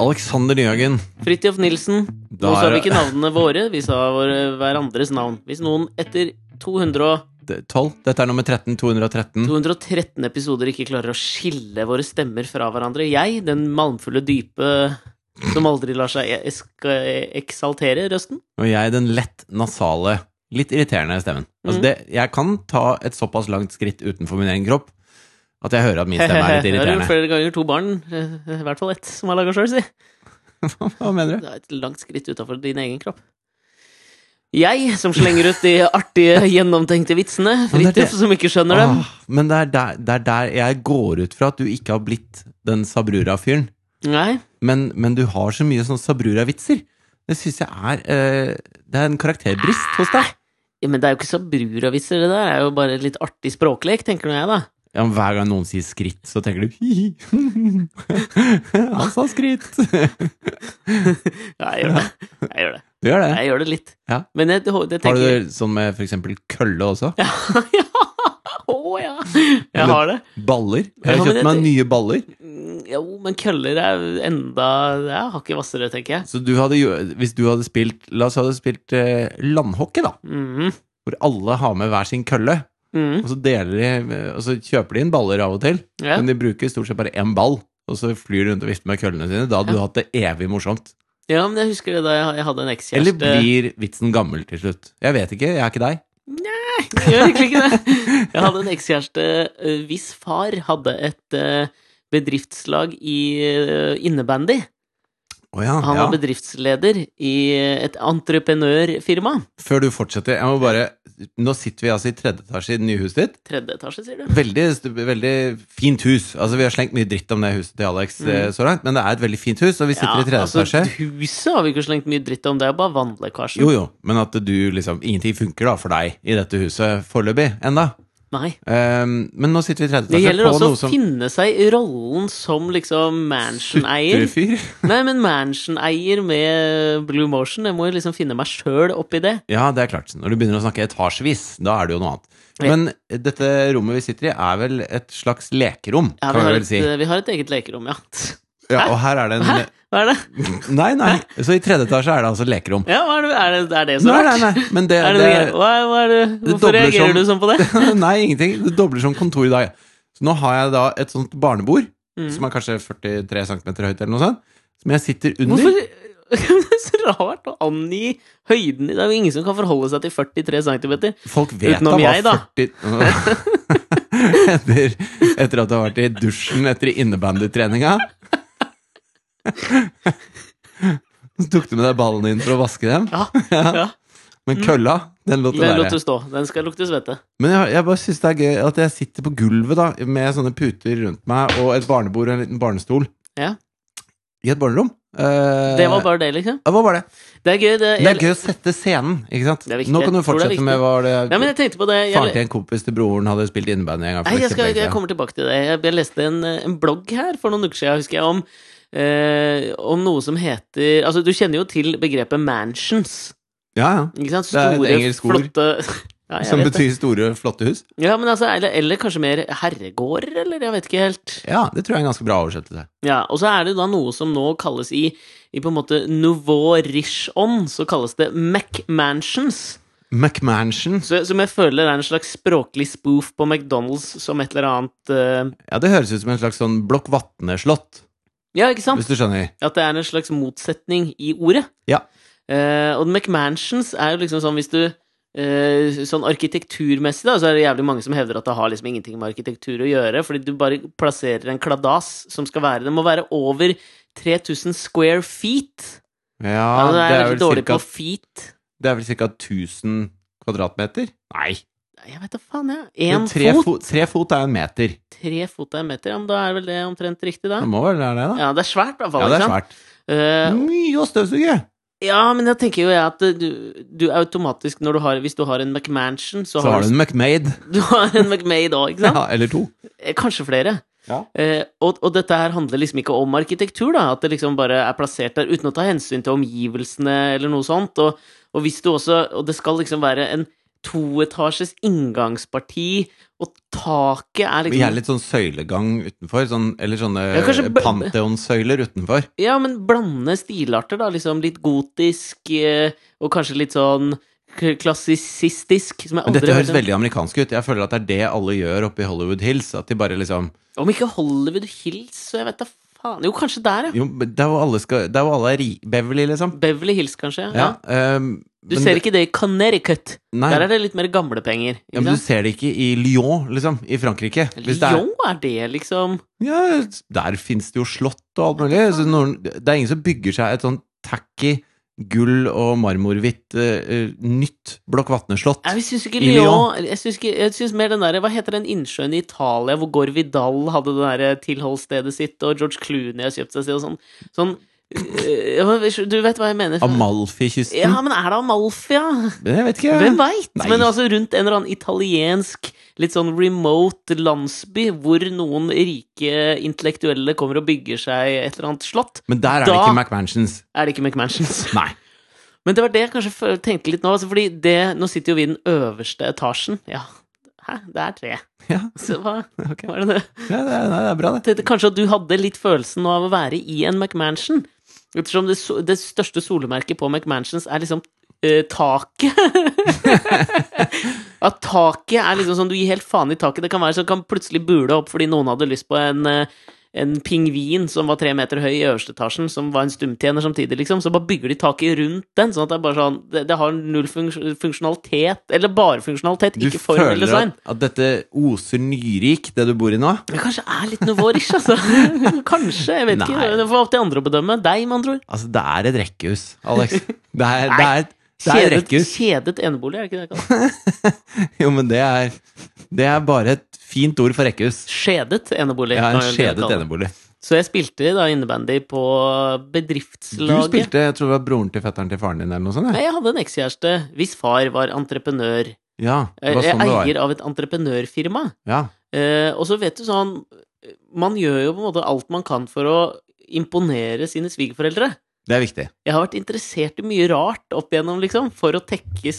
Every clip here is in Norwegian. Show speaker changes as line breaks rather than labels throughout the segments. Alexander Nyhagen.
Fridtjof Nilsen.
Da
Nå sa
er
vi
det-
ikke navnene våre, vi sa våre, hverandres navn. Hvis noen etter 200 og
Det- 12. Dette er nummer 13. 213.
213 episoder ikke klarer å skille våre stemmer fra hverandre. Jeg, den malmfulle dype som aldri lar seg esk- eksaltere røsten.
Og jeg den lett nasale, litt irriterende stemmen. Altså
Mhm.
det, jeg kan ta et såpass langt skritt utenfor min egen kropp at jeg hører at min stemme er litt
Det er jo
irriterende.
flere ganger to barn, eh, i hvert fall ett, som har laga sjøl, si.
Hva mener du?
Det er et langt skritt utafor din egen kropp. Jeg som slenger ut de artige, gjennomtenkte vitsene.
Men det er det- Ah.
Fridtjof som ikke skjønner dem.
Åh, men det er, der, det er der jeg går ut fra at du ikke har blitt den Sabrura-fyren.
Nei.
Men, men du har så mye sånn Sabrura-vitser. Det syns jeg er eh, Det er en karakterbrist hos deg.
Ja, men det er jo ikke så bruravitser, det der. Det er jo bare litt artig språklek, tenker nå jeg, da.
Ja, men hver gang noen sier skritt, så tenker du hi-hi. Han sa skritt! Du
Ja, jeg gjør det. Jeg gjør det,
gjør det.
jeg gjør det litt.
Ja.
Men jeg, det
Har du
tenker
det sånn med for eksempel kølle også?
ja! Å ja! Jeg
Eller-
har det.
Baller? Jeg
Ja,
har
men
kjøpt meg
det-
nye baller.
Mm, Jo, men køller er jo enda Jeg har ikke hvassere, tenker jeg.
Så du hadde, jo- hvis du hadde spilt La oss si du hadde spilt eh, landhockey, da.
Mm,
Hvor alle har med hver sin kølle.
mm,
Og så, deler de, eh, og så kjøper de inn baller av og til.
ja.
Men de bruker stort sett bare én ball. Og så flyr de rundt og vifter med køllene sine. Da hadde du hatt det evig morsomt.
ja, men jeg husker det da jeg, jeg hadde en
Eller
ekskjæreste.
blir vitsen gammel til slutt? Jeg vet ikke, jeg er ikke deg.
Jeg gjør egentlig ikke det. Jeg hadde en ekskjæreste eh, hvis far hadde et eh, bedriftslag i eh, innebandy.
Å ja,
Han
ja.
var bedriftsleder i et entreprenørfirma.
Før du fortsetter, jeg må bare Nå sitter vi altså i tredje etasje i det nye huset ditt.
Tredje etasje, sier du?
Veldig, st- veldig fint hus. Altså, vi har slengt mye dritt om det huset til Alex
Mm.
eh, så langt, men det er et veldig fint hus, og vi sitter i tredje
altså,
etasje.
Huset har vi ikke slengt mye dritt om, det er bare vannlekkasjen.
Jo, jo, men at du liksom Ingenting funker da for deg i dette huset foreløpig enda.
Nei.
Ehm, men nå sitter vi i tredje
Det
etasje
gjelder
på
også
noe
å
som
finne seg i rollen som liksom mansion-eier.
Sutrefyr.
Nei, men mansion-eier med Blue Motion, jeg må jo liksom finne meg sjøl oppi det.
Ja, det er klart. Når du begynner å snakke etasjevis, da er det jo noe annet.
Ja.
Men dette rommet vi sitter i, er vel et slags lekerom,
Ja, vi,
kan vi
har
vel
et, eh,
si.
vi har et eget lekerom, ja.
Ja, og her er det en
Hva er det?
Nei, nei. Så i tredje etasje er det altså lekerom.
Ja, hva er det, er det, er det så
Nei,
rart?
nei, nei. Men det,
Er det,
det,
noe- hva, hva er det, hvorfor
dobler
reagerer
som-
du sånn på det?
Nei, ingenting. Det dobler som kontor i dag. Så nå har jeg da et sånt barnebord,
Mm.
som er kanskje 43 cm høyt, eller noe sånt, som jeg sitter under.
Hvorfor Det er så rart å angi høyden Det er jo ingen som kan forholde seg til 43 cm.
Folk vet
Utenom
da hva
jeg, da.
40 etter, etter at du har vært i dusjen etter innebandytreninga. Så tok du med deg ballene inn for å vaske dem,
Ja, ja.
men kølla, den lot det
Den lot
være.
du stå. Den skal lukte svette.
Men jeg, jeg bare syns det er gøy at jeg sitter på gulvet da med sånne puter rundt meg og et barnebord og en liten barnestol.
Ja.
I et barnerom. Eh,
Det var bare det, liksom.
ja, hva var det?
Det er gøy. Det,
Det er gøy å sette scenen, ikke sant?
Det er viktig.
Nå kan du
Jeg tror det er
fortsette med hva det
Nei, men jeg tenkte på det. Jeg,
Faren til en kompis til broren hadde spilt innebandy en gang. for
Nei, jeg,
eksempel,
skal, jeg
ikke?
kommer tilbake til det. Jeg, jeg leste en, eh, en blogg her for noen uker siden, husker jeg, om, eh, om noe som heter Altså, du kjenner jo til begrepet mansions.
Ja, ja.
Ikke sant?
Det er et engelsk ord.
flotte ja, jeg
Som
vet det.
betyr store, flotte hus.
ja, men altså, eller, eller kanskje mer herregårder, eller jeg vet ikke helt.
Ja, det tror jeg er en ganske bra oversettelse.
Ja, Og så er det da noe som nå kalles i, i på en måte nouveau riche-ånd, så kalles det McMansions.
McMansion.
Så, som jeg føler er en slags språklig spoof på McDonald's som et eller annet eh,
Ja, det høres ut som en slags sånn Blokk Vatne-slott,
Ja, ikke sant?
hvis du skjønner.
At det er en slags motsetning i ordet.
Ja.
Eh, og McMansions er jo liksom sånn hvis du eh, Sånn arkitekturmessig, da, så er det jævlig mange som hevder at det har liksom ingenting med arkitektur å gjøre, fordi du bare plasserer en kladas som skal være Det må være over 3000 square feet.
Ja,
Ja, det er, veldig
vel
dårlig
cirka,
på feet.
det er vel ca. 1000 kvadratmeter? Nei.
Nei, Jeg vet da faen, jeg.
men
Én
tre
fot.
Tre fot er en meter.
Tre fot er en meter. Ja, men da er vel det omtrent riktig, da?
Det må vel være det, da.
Ja, det er svært, i
Ja,
hvert
det
fall.
er
ikke sant?
svært.
Eh,
Mye å støvsuge!
ja, men jeg tenker jo jeg at eh, du, du automatisk, når du har, hvis du har en McMansion, så,
Så har du en McMade.
du har en McMade òg, ikke sant?
Ja, eller to.
Eh, Kanskje flere.
Ja.
Eh, og, og dette her handler liksom ikke om arkitektur, da. At det liksom bare er plassert der uten å ta hensyn til omgivelsene eller noe sånt. Og, og hvis du også Og det skal liksom være en toetasjes inngangsparti, og taket er
Men Gjerne
liksom
litt sånn søylegang utenfor, sånn, eller sånne
Ja, kanskje b-
pantheonsøyler utenfor.
Ja, men blande stilarter, da. Liksom litt gotisk, eh, og kanskje litt sånn k- klassisistisk. Som jeg
Men
aldri
dette høres
har hørt om.
veldig amerikansk ut. Jeg føler at det er det alle gjør oppe i Hollywood Hills. At de bare liksom
Om ikke Hollywood Hills, så jeg vet da faen Jo, kanskje der, ja.
Jo, men det er jo alle skal Det er jo alle er ri... Beverly, liksom.
Beverly Hills, kanskje.
Ja.
Ja.
ehm,
Du
men-
ser ikke det i Connecticut.
Nei.
Der er det litt mer gamle penger. Ikke
ja, men du
sant?
ser det ikke i Lyon, liksom. I Frankrike. Hvis det er,
Lyon er det, liksom.
ja, der fins det jo slott og alt mulig. Så noen, det er ingen som bygger seg et sånn tacky gull- og marmorhvitt eh, eh, nytt Blokkvatne-slott.
Jeg syns ikke
I
Lyon Jeg syns, ikke, jeg syns mer den derre Hva heter den innsjøen i Italia hvor Gore Vidal hadde det derre tilholdsstedet sitt, og George Clooney har kjøpt seg sted, og sånn. Sånn øh, ja, men Du vet hva jeg mener?
Amalfi-kysten.
Ja, men er det Amalfia?
Men jeg vet ikke.
Hvem veit?
Nei.
Men altså rundt en eller annen italiensk, litt sånn remote landsby hvor noen rike intellektuelle kommer og bygger seg et eller annet slott,
Men der er det
Da-
ikke McMansions.
er det ikke McMansions.
Nei.
Men det var det jeg kanskje f- tenkte litt nå, altså fordi det Nå sitter jo vi i den øverste etasjen. Ja. Hæ? Det er tre.
Ja,
Så hva,
ok.
hva er det det?
Ja, det, er, nei, det er bra, det.
Tenkte Kanskje at du hadde litt følelsen nå av å være i en McMansion? Ettersom det, so- det største solemerket på McMansions er liksom eh, taket. At taket er liksom sånn du gir helt faen i taket. Det kan være sånn kan plutselig bule opp fordi noen hadde lyst på en eh, en pingvin som var tre meter høy i øverste etasjen, som var en stumtjener samtidig, liksom. Så bare bygger de taket rundt den, sånn at det er bare sånn Det, det har null funks funksjonalitet, eller bare funksjonalitet,
Du
ikke form eller
føler
design.
at, at dette oser nyrik, det du bor i nå?
Det kanskje er litt nivårish, altså. kanskje. Jeg vet
Nei.
ikke. Det får opp til andre å bedømme. Deg, med andre ord.
Altså, det er et rekkehus, Alex. Det er, det er, det er et
Kjedet,
rekkehus.
kjedet enebolig, er det ikke det? kalt?
Jo, men det er, det er bare et fint ord for rekkehus.
Skjedet enebolig.
Jeg har
kan
en
jeg vel
skjedet
kalle det.
enebolig.
Så jeg spilte da innebandy på
Du
bedriftslaget.
spilte, jeg tror det var broren til fetteren til faren din, eller noe sånt?
Nei,
Ja,
jeg hadde en ekskjæreste hvis far var entreprenør.
ja det
Jeg
var sånn det var.
eier av et entreprenørfirma.
Ja.
Eh, og så vet du sånn Man gjør jo på en måte alt man kan for å imponere sine svigerforeldre.
Det er viktig.
Jeg har vært interessert i mye rart opp igjennom, liksom, for å tekkes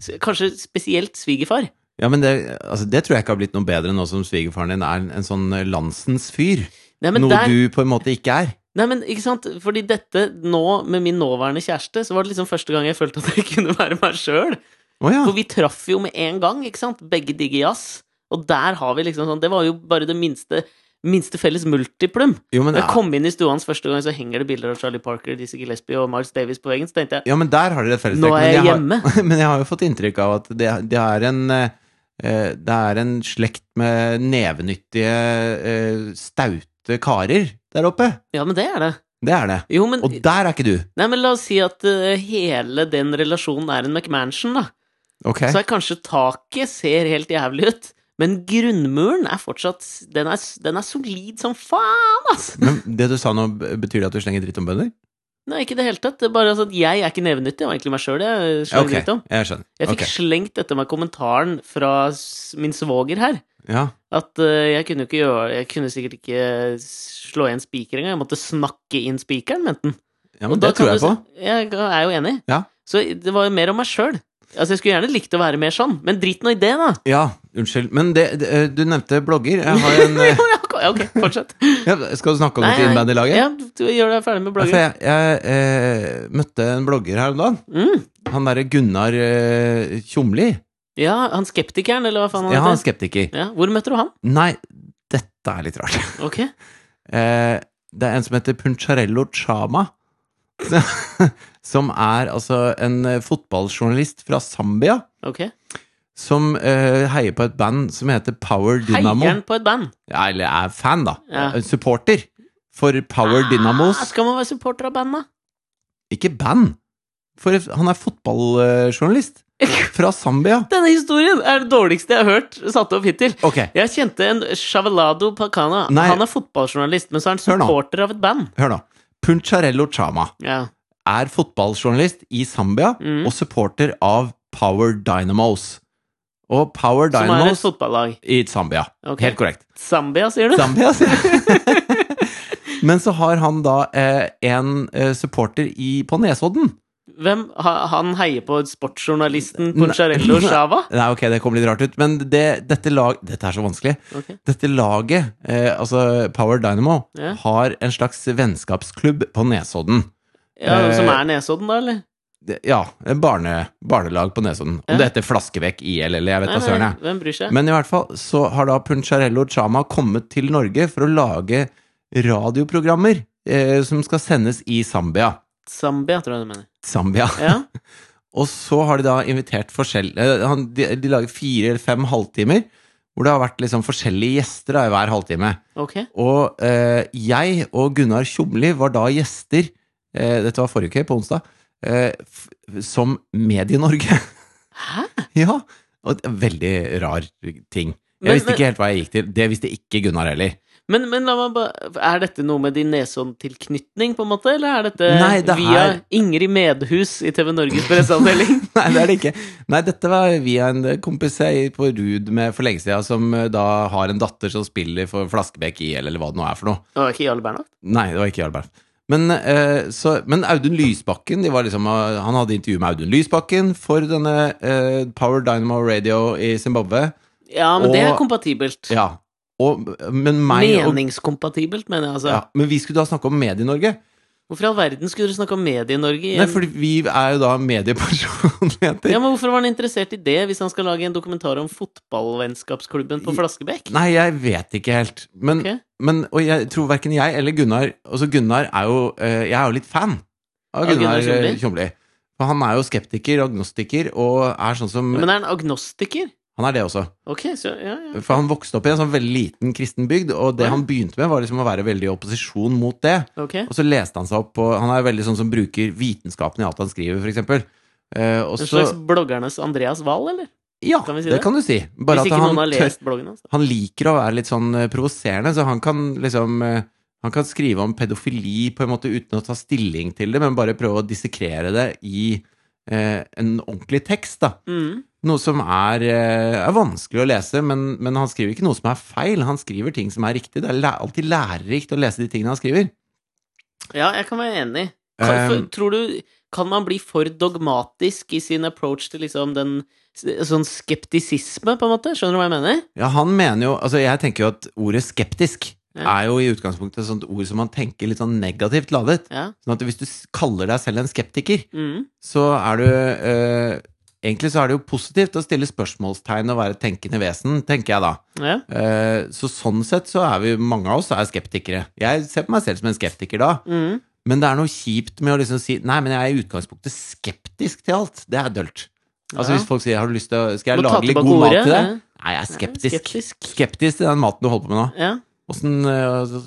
s- Kanskje spesielt svigerfar.
Ja, men det, altså, det tror jeg ikke har blitt noe bedre nå som svigerfaren din er en, en sånn landsens fyr.
Nei, men
Noe
der,
du på en måte ikke er.
nei, men ikke sant? Fordi dette nå, med min nåværende kjæreste, så var det liksom første gang jeg følte at jeg kunne være meg sjøl.
Å ja.
For vi traff jo med en gang, ikke sant? Begge digger jazz. Og der har vi liksom sånn Det var jo bare det minste, minste felles multiplum.
Jo, men,
Da jeg kom inn i stua hans første gang, så henger det bilder av Charlie Parker, Dizzie Gillespie og Miles Davis på veggen. Så tenkte jeg
ja, men der har dere et fellestrekk.
Nå er
men
jeg
har-
hjemme.
Men jeg har jo fått inntrykk av at det, det er en eh, eh, Det er en slekt med nevenyttige, eh, staute karer der oppe.
Ja, men det er det.
Det er det.
Jo, men
Og der er ikke du.
Nei, men la oss si at eh, hele den relasjonen er en McMansion, da.
Ok.
Så er kanskje taket ser helt jævlig ut, men grunnmuren er fortsatt s- Den er, s- den er solid som faen, altså!
Men det du sa nå, b- betyr det at du slenger dritt om bønder?
Nei, ikke i det hele tatt. Det er bare altså at jeg er ikke nevenyttig, det var egentlig meg sjøl jeg slang
Ok,
dritt om.
jeg skjønner.
Jeg fikk
Ok.
slengt etter meg kommentaren fra s- min svoger her.
Ja.
At eh, jeg kunne jo ikke gjøre Jeg kunne sikkert ikke slå igjen spiker engang. Jeg måtte snakke inn spikeren, mente han.
ja, men
Og da
det
kan
tror jeg
du
på.
si- Jeg er jo enig.
Ja.
Så det var jo mer om meg sjøl. Altså, jeg skulle gjerne likt å være mer sånn, men drit nå i det, da.
Ja, unnskyld. Men det, det, eh, du nevnte blogger. Jeg har en eh,
Ja, ok, fortsett.
ja, Skal du snakke om det
Nei,
til
nei.
innbandylaget?
Ja, du gjør deg ferdig
Ja,
med
for
bloggen.
jeg jeg eh, møtte en blogger her om dagen.
Mm.
Han derre Gunnar eh, Tjomli.
Ja, han skeptikeren, eller hva faen
Ja,
han
han er
heter?
skeptiker.
Ja, hvor møter du han?
Nei, dette er litt rart.
Ok.
Eh, det er en som heter Puncharello Chama. Som er altså en eh, fotballjournalist fra Zambia.
ok
Som eh, heier på et band som heter Power Dynamo.
Heieren på et band.
Ja, eller er fan, da.
Ja.
Eh, Supporter for Power
Ah,
Dynamos.
skal man være supporter av band, da?
Ikke band! For han er fotballjournalist. Fra Zambia.
Denne historien er det dårligste jeg har hørt satt opp hittil.
Ok,
Jeg kjente en Chavelado Pacana.
Nei.
Han er fotballjournalist, men så er han
Hør nå.
supporter av et band.
hør nå. Puncharello Chama
Ja.
er fotballjournalist i Zambia
Mm.
og supporter av Power Dynamos. Og Power
Som er et
Dynamos
fotballag.
i Zambia.
Ok.
Helt korrekt.
Zambia, sier du?
Zambia, sier jeg. Men så har han da eh, en eh, supporter i, på Nesodden
Hvem? Ha, han heier på sportsjournalisten Poncharello Shava?
Nei, ok, det kom litt rart ut, men det, dette lag Dette er så vanskelig.
Ok.
Dette laget, eh, altså Power Dynamo,
Ja.
har en slags vennskapsklubb på Nesodden.
Ja,
Eh,
som er Nesodden, da, eller?
Det- Ja, en barne, barnelag på Nesodden. Om
Ja.
det heter Flaskevekk IL, eller jeg vet da
Nei,
søren, jeg.
nei, Hvem bryr seg?
Men i hvert fall så har da Puncharello Chama kommet til Norge for å lage radioprogrammer eh, som skal sendes i Zambia.
Zambia, tror jeg du mener.
Zambia.
Ja.
Og så har de da invitert forskjellige han- de, de lager fire eller fem halvtimer, hvor det har vært liksom forskjellige gjester da, i hver halvtime.
Ok.
Og eh, jeg og Gunnar Tjomli var da gjester, eh, dette var forrige uke, på onsdag, eh, f som Medie-Norge.
Hæ?
ja, og det er en veldig rar ting. Jeg
Men-
visste ikke helt hva jeg gikk til. Det visste ikke Gunnar heller.
Men, men la meg bare Er dette noe med din Nesodden-tilknytning, på en måte? Eller er dette
Nei, det
via
her-
Ingrid Medhus i TV Norges presseavdeling?
Nei, det er det ikke. Nei, dette var via en kompis jeg på Rud med for lenge siden, som eh, da har en datter som spiller for Flaskebekk IL, eller hva det nå er for noe.
Det var ikke Jarle Bernhoft?
Nei, det var ikke Jarl Bernt. Men, eh, så, men Audun Lysbakken de var liksom, eh, Han hadde intervju med Audun Lysbakken for denne eh, Power Dynamo Radio i Zimbabwe.
Ja, men det er
Og-
kompatibelt.
Ja. Og, men meg og
Meningskompatibelt, mener jeg, altså.
ja, Men vi skulle da snakke om Medie-Norge.
Hvorfor i all verden skulle dere snakke om Medie-Norge? i
Nei,
en-
fordi vi er jo da mediepersonligheter.
Ja, men Hvorfor var han interessert i det, hvis han skal lage en dokumentar om fotballvennskapsklubben på Flaskebekk?
Nei, jeg vet ikke helt. Men,
Ok.
men og jeg tror verken jeg eller Gunnar Altså, Gunnar er jo eh, Jeg er jo litt fan av
Av
Gunnar
Gunnar
eh,
Tjomli?
Tjomli. For han er jo skeptiker og agnostiker, og er sånn som
Men er han agnostiker?
Han er det også.
Ok, så ja, ja.
For han vokste opp i en sånn veldig liten kristen bygd, og det
Ja.
han begynte med, var liksom å være veldig i opposisjon mot det.
Ok.
Og så leste han seg opp på Han er jo veldig sånn som bruker vitenskapen i alt han skriver, for eksempel. Eh, og
En
så
slags bloggernes Andreas Wahl, eller?
Ja,
kan vi si
det
det?
kan du si. Bare
hvis
at
ikke
han
noen har
tør
lest bloggen hans. da.
han liker å være litt sånn eh, provoserende, så han kan liksom eh, Han kan skrive om pedofili på en måte uten å ta stilling til det, men bare prøve å dissekrere det i eh, en ordentlig tekst, da.
Mm.
Noe som er, eh, er vanskelig å lese, men, men han skriver ikke noe som er feil. Han skriver ting som er riktig. Det er læ alltid lærerikt å lese de tingene han skriver.
Ja, jeg kan være enig. Kan, for,
Um,
tror du Kan man bli for dogmatisk i sin approach til liksom den Sånn skeptisisme, på en måte? Skjønner du hva jeg mener?
Ja, han mener jo Altså, jeg tenker jo at ordet skeptisk
Ja.
er jo i utgangspunktet et sånt ord som man tenker litt sånn negativt ladet.
Ja.
Sånn at hvis du s- kaller deg selv en skeptiker,
Mm.
så er du eh, Egentlig så er det jo positivt å stille spørsmålstegn og være et tenkende vesen, tenker jeg da.
ja.
Eh, så sånn sett så er vi mange av oss er skeptikere. Jeg ser på meg selv som en skeptiker da,
Mm.
men det er noe kjipt med å liksom si Nei, men jeg er i utgangspunktet skeptisk til alt. Det er dølt. Altså
Ja.
hvis folk sier Har du lyst til å Skal jeg
Må ta
lage litt
tilbake
god mat
ordet,
til deg?
ja.
Nei, jeg er skeptisk.
skeptisk.
Skeptisk til den maten du holder på med nå.
Ja,
Åssen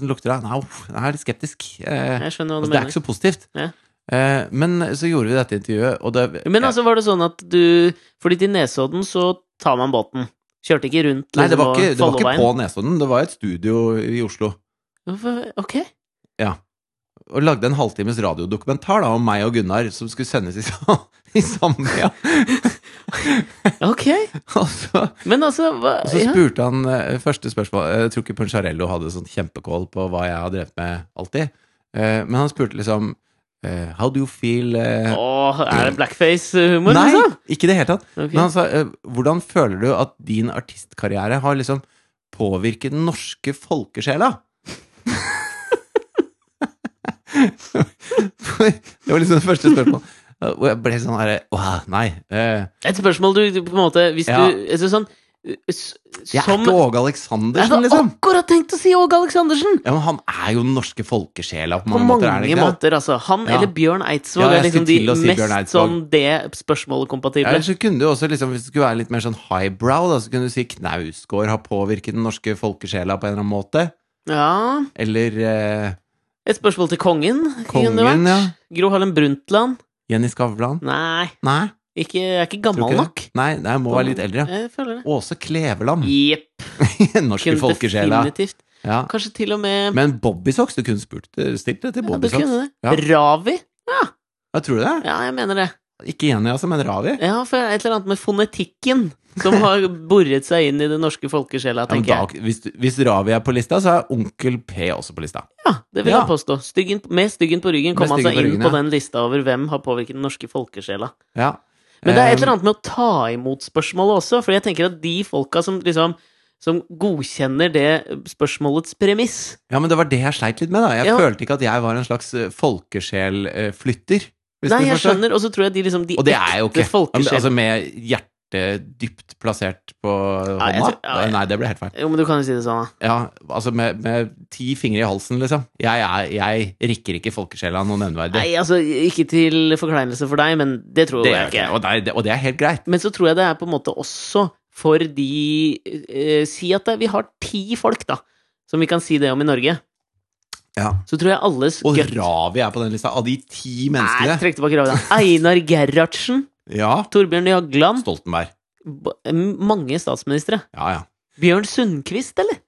lukter det? Nei, uff, jeg er litt skeptisk. Eh,
jeg skjønner
altså, det
hva du
er
mener.
ikke så positivt.
Ja.
Eh, men så gjorde vi dette intervjuet, og det
Men altså, var det sånn at du Fordi til Nesodden så tar man båten. Kjørte ikke rundt liksom
Nei, det var ikke, det var ikke
Folloveien.
på Nesodden. Det var et studio i Oslo.
Hvorfor- Ok.
Og lagde en halvtimes radiodokumentar da, om meg og Gunnar som skulle sendes i, Sa- i Zambia.
Ok.
og så,
Men altså hva,
og så
ja.
spurte han eh, første spørsmål Jeg tror ikke Poncharello hadde sånn kjempekål på hva jeg har drevet med alltid. Eh, men han spurte liksom eh, How do you feel eh,
Åh, er det blackface-humor,
Nei,
liksom?
ikke i det hele tatt.
Ok.
Men han sa eh, Hvordan føler du at din artistkarriere har liksom påvirket den norske folkesjela? det var liksom det første spørsmålet. Og jeg ble sånn herre Åh, nei. eh,
Et spørsmål du du på en måte Hvis
Ja.
du altså, sånn, s-
jeg er
Som
ikke Åge
Jeg
Aleksandersen,
hadde
liksom.
akkurat tenkt Altså, å si Åge Aleksandersen!
Ja, men han er jo den norske folkesjela på
På
mange måter, er han
mange
ikke det?
måter, altså. Han
Ja.
eller Bjørn Eidsvåg
Ja, jeg
er liksom
skulle
de
til å si Bjørn
mest
Eidsvåg.
sånn det spørsmålet
Ja,
kompatible.
Ellers så kunne du også, liksom, Hvis det skulle være litt mer sånn highbrow, da, så kunne du si Knausgård har påvirket den norske folkesjela på en eller annen måte.
Ja.
Eller eh,
Et spørsmål til kongen. kunne det
Kongen,
vært.
ja.
Gro Harlem Brundtland.
Jenny
Jenny
Skavlan.
Nei,
Nei.
ikke, jeg er ikke
Tror
gammel
ikke
nok.
det. Nei, nei, jeg må være litt eldre.
Jeg føler det.
Åse Kleveland.
Jepp.
Norske
kunne
folkesjela.
Definitivt.
Ja.
Kanskje til og med
Men Bobbysocks, du kunne spurt, eh, stilt det til
ja, du kunne
Bobbysocks.
det. Ravi.
Ja, tror du det?
Ja, jeg mener det.
Ikke Jenny, altså, men Ravi.
Ja, for et eller annet med fonetikken. som har boret seg inn i den norske folkesjela,
Ja, men
tenker jeg.
da, hvis, hvis Ravi er på lista, så er Onkel P også på lista.
Ja, det vil
Ja.
jeg påstå. Styggen, med styggen på ryggen
Med
kom han
styggen
seg
på
inn
ryggen,
på
ja.
den lista over hvem har påvirket den norske folkesjela.
Ja.
Men det er
Um,
et eller annet med å ta imot spørsmålet også, for jeg tenker at de folka som liksom som godkjenner det spørsmålets premiss.
Ja, men det var det jeg sleit litt med, da. Jeg
Ja.
følte ikke at jeg var en slags eh, folkesjelflytter. hvis
Nei,
du
jeg
forstår.
skjønner, og så tror jeg de liksom de
Og det er jo
ekte
ikke
folkesjel-
Altså med hjertet dypt plassert på
Ja, jeg
hånda?
tror- ja, jeg-
Nei, det ble helt feil.
Jo, men du kan jo si det sånn, da.
Ja, altså med, med ti fingre i halsen, liksom. Jeg, er, jeg rikker ikke folkesjela noe nevneverdig.
Nei, altså, ikke til forkleinelse for deg, men det tror
det
jeg
gjør
ikke.
ikke. Og, nei, det, og det er helt greit.
Men så tror jeg det er på en måte også for de eh, Si at det, vi har ti folk, da, som vi kan si det om i Norge. Så tror jeg alle
Og
skøtt-
Ravi er på den lista. Av de ti
Nei,
menneskene
trekk tilbake Ravi, da. Einar Gerhardsen.
Ja.
Torbjørn Jagland.
Stoltenberg.
b- Mange statsministre.
Ja, ja.
Bjørn Sundquist, eller?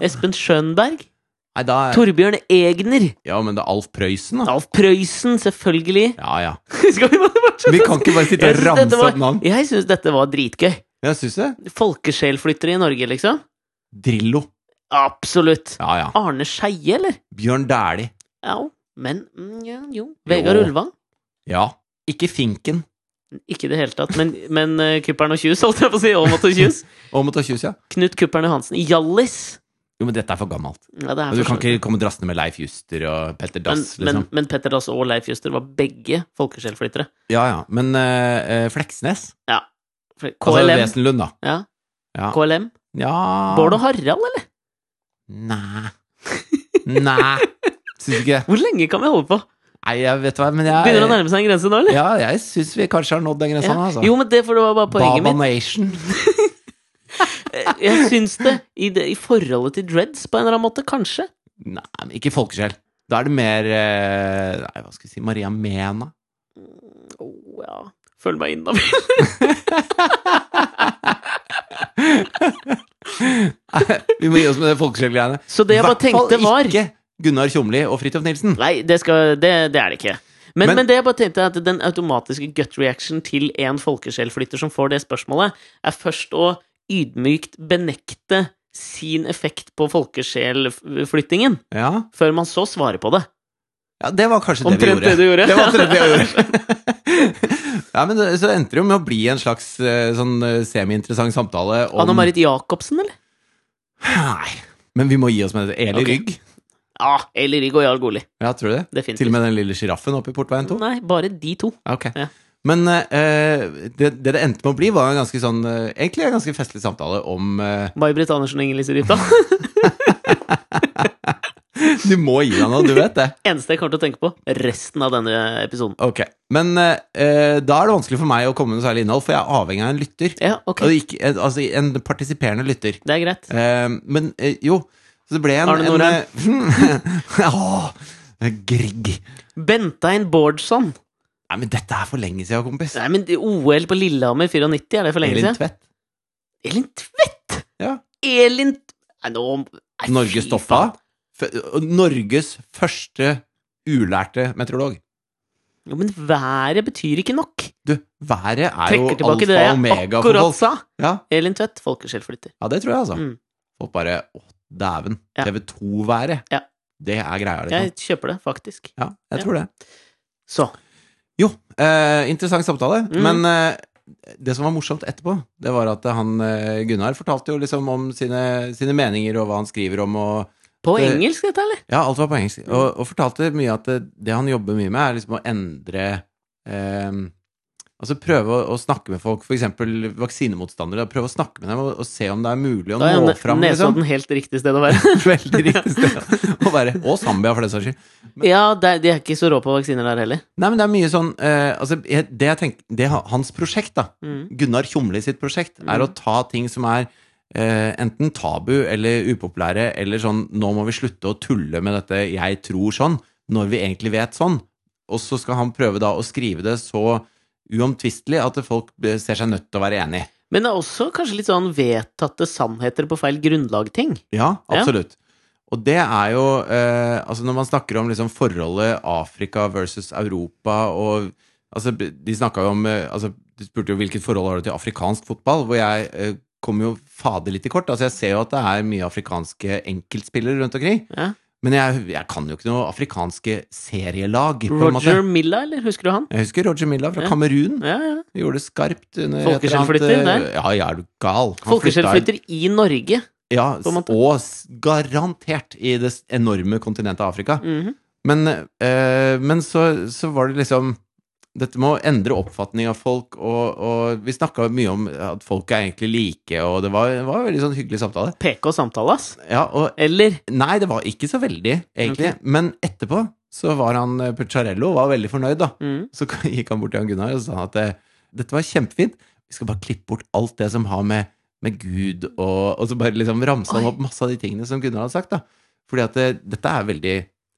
Espen Schønberg.
Nei, da
Torbjørn Egner.
Ja, men det er Alf Prøysen, da.
Alf Prøysen, selvfølgelig.
Ja, ja.
Skal vi bare
Vi
fortsette?
kan ikke bare sitte
Jeg
og
synes dette
ramse
var-
opp navn.
Jeg syns dette var dritgøy.
Jeg syns det.
Folkesjelflyttere i Norge, liksom.
Drillo.
Absolutt.
Ja, ja.
Arne Skeie, eller?
Bjørn Dæhlie.
Ja, men mm, ja, jo. Vegard Ulvang?
Ja. Ikke Finken.
Ikke i det hele tatt, men, men eh, Kuppern og Kjus, holdt jeg på å si. Aamodt og Kjus.
Og måtte ha tjus, ja.
Knut Kuppern Johansen. Jallis!
Jo, men dette er for gammelt.
Ja, det er
Du
for
kan
så vidt.
ikke komme drassende med Leif Juster og Petter
men,
Dass,
men,
liksom.
men Petter Dass og Leif Juster var begge folkesjelflyttere.
Ja, ja. Men eh, eh, Fleksnes?
For
Altså
KLM.
Wesenlund, da.
Ja.
Ja.
KLM.
Ja
Bård og Harald, eller?
Næ. Næ. Syns du ikke det?
Hvor lenge kan vi holde på?
Nei, jeg vet hva, men jeg
Begynner det å nærme seg en grense nå, eller?
Ja, jeg syns vi kanskje har nådd den grensa,
Ja.
altså.
Jo, men det for det var bare poenget
Baba
mitt.
Nation.
Eh, Jeg syns det i, det, i forholdet til dreads, på en eller annen måte, kanskje.
Nei, men ikke folkesjel. Da er det mer eh, Nei, hva skal vi si Maria Mena.
Oh, ja. Følg meg innom.
Nei, vi må gi oss med det folkesjelgreiene.
Så det jeg bare tenkte, var
ikke Gunnar Tjomli og Fridtjof Nilsen.
Nei, det, skal, det, det er det ikke. Men, men,
Men-
det jeg bare tenkte er at den automatiske gut reaction til en folkesjelflytter som får det spørsmålet, er først å ydmykt benekte sin effekt på folkesjelflyttingen,
Ja,
før man så svarer på det.
ja det var kanskje det vi
Omtrent
gjorde.
det du gjorde.
Det var omtrent det jeg gjorde. ja, men det, så endte det jo med å bli en slags eh, sånn eh, semi-interessant samtale om
Anne Marit Jacobsen, eller?
Nei, men vi må gi oss med det. Eli
Ok.
Rygg.
Ja, eller Riggo Jarl Goli.
Ja, tror du det? Til
Definitivt.
og med den lille sjiraffen oppe i Portveien 2?
Nei, bare de to.
Ja, Ok.
Ja.
Men eh, det, det det endte med å bli, var en ganske sånn eh, Egentlig en ganske festlig samtale om eh,
May-Britt Andersen og Inger-Lise Rypdal.
Du må gi deg nå, du vet det.
Eneste jeg kommer til å tenke på resten av denne episoden.
Ok, Men eh, eh, da er det vanskelig for meg å komme med noe særlig innhold, for jeg er avhengig av en lytter.
Ja, ok.
Og ikke, eh, altså en partisiperende lytter.
Det er greit.
Eh, men eh, jo, så det ble en
Arne
en, eh, Åh, Grieg.
Bentein Bårdsson.
Nei, men dette er for lenge siden, kompis.
Nei, men OL på Lillehammer 94, er det for lenge
Elin
siden?
Tvedt.
Elin Tvedt!
Ja.
Elin Nei, nå nei, fy
Norges toppa.
faen.
F- Norges første ulærte meteorolog.
Jo, men været betyr ikke nok.
Du, været er jo
Trekker tilbake det
alfa og
jeg
omega for
akkurat
folk.
sa.
Ja,
Elin Tvedt, folkesjelflytter.
ja, det tror jeg, altså.
Mm.
Folk bare Å, dæven.
Ja.
TV2-været.
Ja.
Det er greia, liksom.
Jeg kjøper det, faktisk.
Ja, jeg
Ja.
tror det.
Så.
Jo, eh, interessant samtale.
Mm.
Men eh, det som var morsomt etterpå, det var at han eh, Gunnar fortalte jo liksom om sine, sine meninger og hva han skriver om og
På
Det-
engelsk, dette, eller?
Ja, alt var på engelsk.
Mm.
Og, og fortalte mye at det, det han jobber mye med, er liksom å endre eh, Altså prøve å, å snakke med folk, f.eks. vaksinemotstandere. da. Prøve å snakke med dem og, og se om det er mulig å
Da er
nå
ne-
fram. Liksom.
Nesodden helt riktig sted å være.
Veldig riktig sted. å være. Og Zambia, for den saks skyld.
ja, det er- de er ikke så rå på vaksiner der heller.
Nei, men det er mye sånn eh, altså, jeg, det, jeg tenker, det er hans prosjekt, da.
Mm.
Gunnar Tjomli sitt prosjekt er å ta ting som er eh, enten tabu eller upopulære, eller sånn 'nå må vi slutte å tulle med dette 'jeg tror sånn', når vi egentlig vet sånn. Og så skal han prøve da å skrive det så uomtvistelig at folk eh, ser seg nødt til å være enig.
Men det er også kanskje litt sånn vedtatte sannheter på feil grunnlag-ting.
Ja,
Ja.
absolutt. Og det er jo eh, Altså, når man snakker om liksom forholdet Afrika versus Europa og Altså, de snakka jo om eh, altså, Du spurte jo hvilket forhold har du til afrikansk fotball, hvor jeg eh, kommer jo fader litt i kort. Altså, jeg ser jo at det er mye afrikanske enkeltspillere rundt omkring.
Ja.
Men jeg, jeg kan jo ikke noe afrikanske serielag, på en måte.
Roger Milla, eller? Husker du han?
Jeg husker Roger Milla fra
Ja.
Kamerun.
Ja, ja.
Gjorde det skarpt under et eller annet,
Folkeskjellflytter
eh,
der?
Ja, ja, er du gal. Han
Folkeskjell
flytta-
flytter i Norge.
Ja,
på en måte.
og s- garantert i det s- enorme kontinentet Afrika.
Mhm.
Men, eh, men så, så var det liksom Dette med å endre oppfatning av folk, og, og vi snakka mye om at folk er egentlig like, og det var, det var en veldig sånn hyggelig samtale.
PK samtale, ass.
Ja, og
Eller?
Nei, det var ikke så veldig, egentlig. Men etterpå så var han eh, Pucciarello var veldig fornøyd, da.
Mhm.
Så gikk han bort til han Gunnar og sa at eh, dette var kjempefint, vi skal bare klippe bort alt det som har med, med Gud og, og så bare liksom ramsa han
Oi.
opp masse av de tingene som Gunnar hadde sagt. da. Fordi at eh, dette er veldig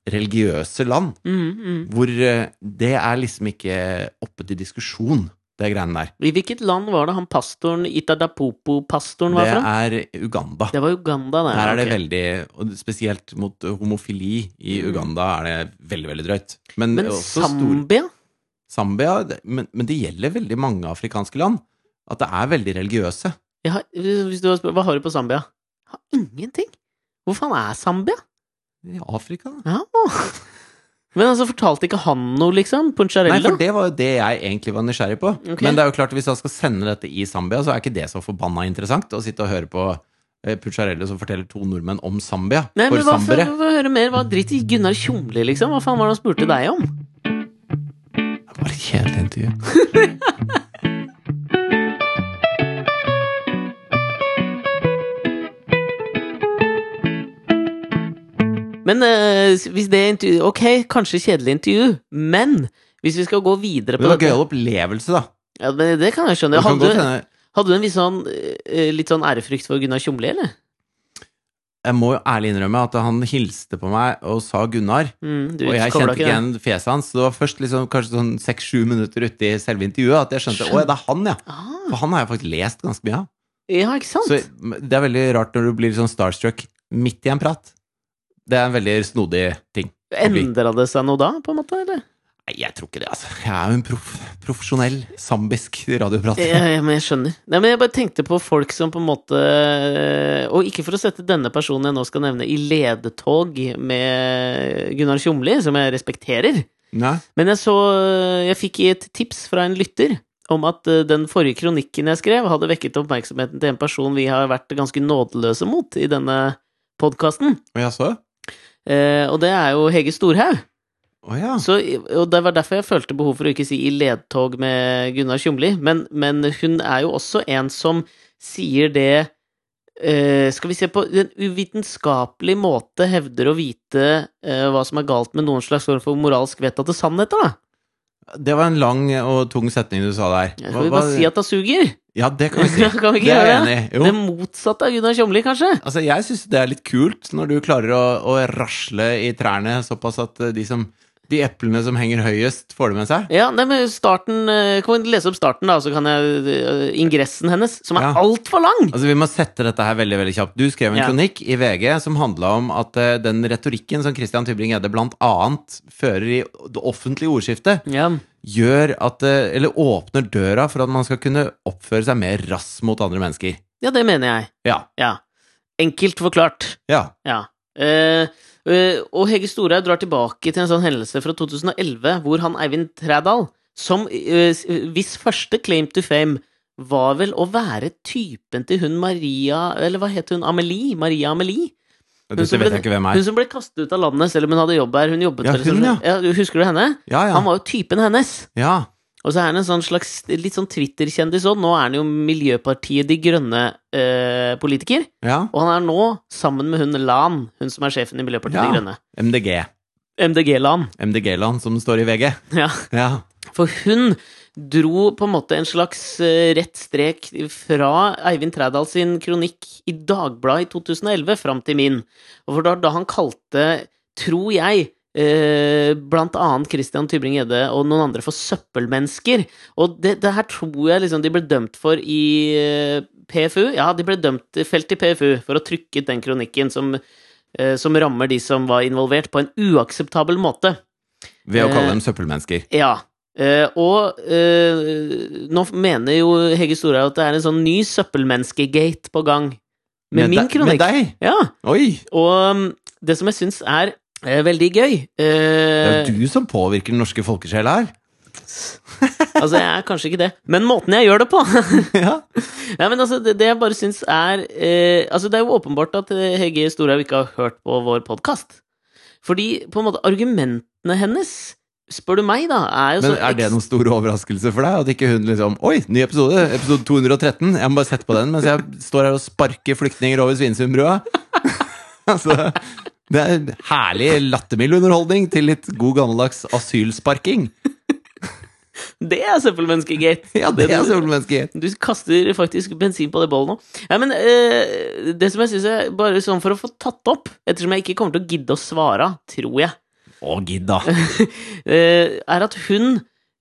religiøse land,
Mhm, mhm.
hvor eh, det er liksom ikke oppe til diskusjon, det greiene der.
I hvilket land var det han pastoren Itadapopo-pastoren var fra?
Det er Uganda.
Det var Uganda, det.
Der er det
ok.
veldig, og spesielt mot homofili i
Mm.
Uganda er det veldig, veldig drøyt. Men,
Men
også stor-
Zambia?
Zambia det- men, men det gjelder veldig mange afrikanske land. At det er veldig religiøse.
Jeg har, hvis du har spurt, hva har du på Zambia? Jeg har ingenting. Hvor faen er Zambia?
I Afrika? da.
Ja. Men altså, fortalte ikke han noe, liksom?
Nei,
Puncharello?
for det var jo det jeg egentlig var nysgjerrig på.
Ok.
Men det er jo klart, hvis han skal sende dette i Zambia, så er ikke det så forbanna interessant å sitte og høre på eh, Pucciarello som forteller to nordmenn om Zambia.
Nei, men
for
hva
zambere.
for, for å høre mer? Hva drit i Gunnar Tjomli, liksom? Hva faen var det han spurte deg om?
Det var et kjedelig intervju.
Men eh, hvis det er intervju Ok, kanskje kjedelig intervju, men hvis vi skal gå videre
Men
på
det var
dette
gøyal opplevelse, da.
ja, men Det kan jeg skjønne.
Det kan
Hadde,
godt hende
hadde du en viss sånn, eh, litt sånn ærefrykt for Gunnar Tjomli, eller?
Jeg må jo ærlig innrømme at han hilste på meg og sa Gunnar.
Mm, du
Og jeg
koblet
kjente ikke
det.
igjen fjeset hans. Så det var først liksom, kanskje sånn seks-sju minutter ute i selve intervjuet at jeg skjønte
Skjønner.
å, det er han, ja.
Ah,
For han har jeg faktisk lest ganske mye av.
ja, ikke sant?
Så det er veldig rart når du blir sånn starstruck midt i en prat. Det er en veldig snodig ting.
Endra det seg noe da, på en måte? eller?
Nei, jeg tror ikke det, altså. Jeg er jo en proff, profesjonell zambisk
Ja,
radioprater.
ja, men jeg skjønner. Nei, men jeg bare tenkte på folk som på en måte Og ikke for å sette denne personen jeg nå skal nevne, i ledetog med Gunnar Tjomli, som jeg respekterer.
Nei.
Men jeg så Jeg fikk et tips fra en lytter om at eh, den forrige kronikken jeg skrev, hadde vekket oppmerksomheten til en person vi har vært ganske nådeløse mot i denne podkasten.
Og jeg så?
Eh, Og det er jo Hege Storhaug.
Å ja.
Så, og det var derfor jeg følte behov for å ikke si i ledtog med Gunnar Tjomli, men, men hun er jo også en som sier det eh, Skal vi se på en uvitenskapelig måte hevder å vite eh, hva som er galt med noen slags form for moralsk vedtatte sannheter, da.
Det var en lang og tung setning du sa der.
Skal vi bare si at det suger?
Ja, det kan vi si.
Kan vi ikke
det er jeg
gjøre
enig i. Jo.
Det motsatte av Gunnar Tjomli, kanskje?
Altså, jeg syns det er litt kult når du klarer å, å rasle i trærne såpass at eh, de, som, de eplene som henger høyest, får det med seg.
Ja, nei, men starten eh, Kan vi lese opp starten, da, så kan jeg eh, Ingressen hennes, som er
Ja.
altfor lang!
Altså, Vi må sette dette her veldig veldig kjapt. Du skrev en
Ja.
kronikk i VG som handla om at eh, den retorikken som Christian Tybring-Gjedde blant annet fører i det offentlige ordskiftet,
Ja.
gjør at eh, Eller åpner døra for at man skal kunne oppføre seg mer rass mot andre mennesker.
ja, det mener jeg.
Ja.
Ja. Enkelt forklart.
Ja.
Ja. Eh, eh, og Hege Storhaug drar tilbake til en sånn hendelse fra 2011, hvor han Eivind Trædal, som eh, s- hvis første claim to fame var vel å være typen til hun Maria Eller hva het hun? Amelie? Maria Amelie?
Og
Hun
Dette
som
vet
ble-
jeg ikke hvem
Hun
er.
som ble kastet ut av landet selv om hun hadde jobb her. Hun jobbet
Ja,
vel som-
hun, ja.
du- Husker du henne?
Ja, ja.
Han var jo typen hennes.
ja.
Og så er han en sånn slags litt sånn Twitter-kjendis òg. Nå er han jo Miljøpartiet De eh, Grønne-politiker.
ja.
Og han er nå sammen med hun Lan, hun som er sjefen i Miljøpartiet
Ja.
De Grønne.
MDG.
MDG-Lan.
MDG-land, som står i VG.
Ja.
Ja.
For hun dro på en måte en slags eh, rett strek fra Eivind Trædal sin kronikk i Dagbladet i 2011 fram til min. Og for da, da han kalte, tror jeg, eh, blant annet Christian Tybring-Gjedde og noen andre for søppelmennesker. Og det, det her tror jeg liksom de ble dømt for i eh, PFU. Ja, de ble dømt eh, felt i PFU for å ha trykket den kronikken som, eh, som rammer de som var involvert, på en uakseptabel måte.
Ved å
Eh,
kalle dem søppelmennesker.
Ja. Eh, og eh, nå mener jo Hege Storhaug at det er en sånn ny søppelmenneskegate på gang. Med, min
deg- Med
kronikk.
deg?
Ja.
Oi!
Og mm, det som jeg syns er eh, veldig gøy
Det
eh,
er jo du som påvirker den norske folkesjela her.
Altså, jeg er kanskje ikke det, men måten jeg gjør det på
ja.
Nei, men altså, det, det jeg bare syns er eh, Altså, det er jo åpenbart at eh, Hege Storhaug ikke har hørt på vår podkast. Fordi, på en måte, argumentene hennes, spør du meg, da, er jo
Men
så
er det
ekst-
noen stor overraskelse for deg? At ikke hun liksom Oi, ny episode! Episode 213. Jeg må bare sette på den mens jeg står her og sparker flyktninger over Svinesundbrua. altså, det er herlig lattermild underholdning til litt god gammeldags asylsparking.
Det er søppelmenneskegate!
Ja, det er
du-
solmennesker.
Du kaster faktisk bensin på det bollet nå. Nei, men eh, det som jeg syns er bare sånn for å få tatt opp, ettersom jeg ikke kommer til å gidde å svare, tror jeg,
Å, gidd, da.
eh, er at hun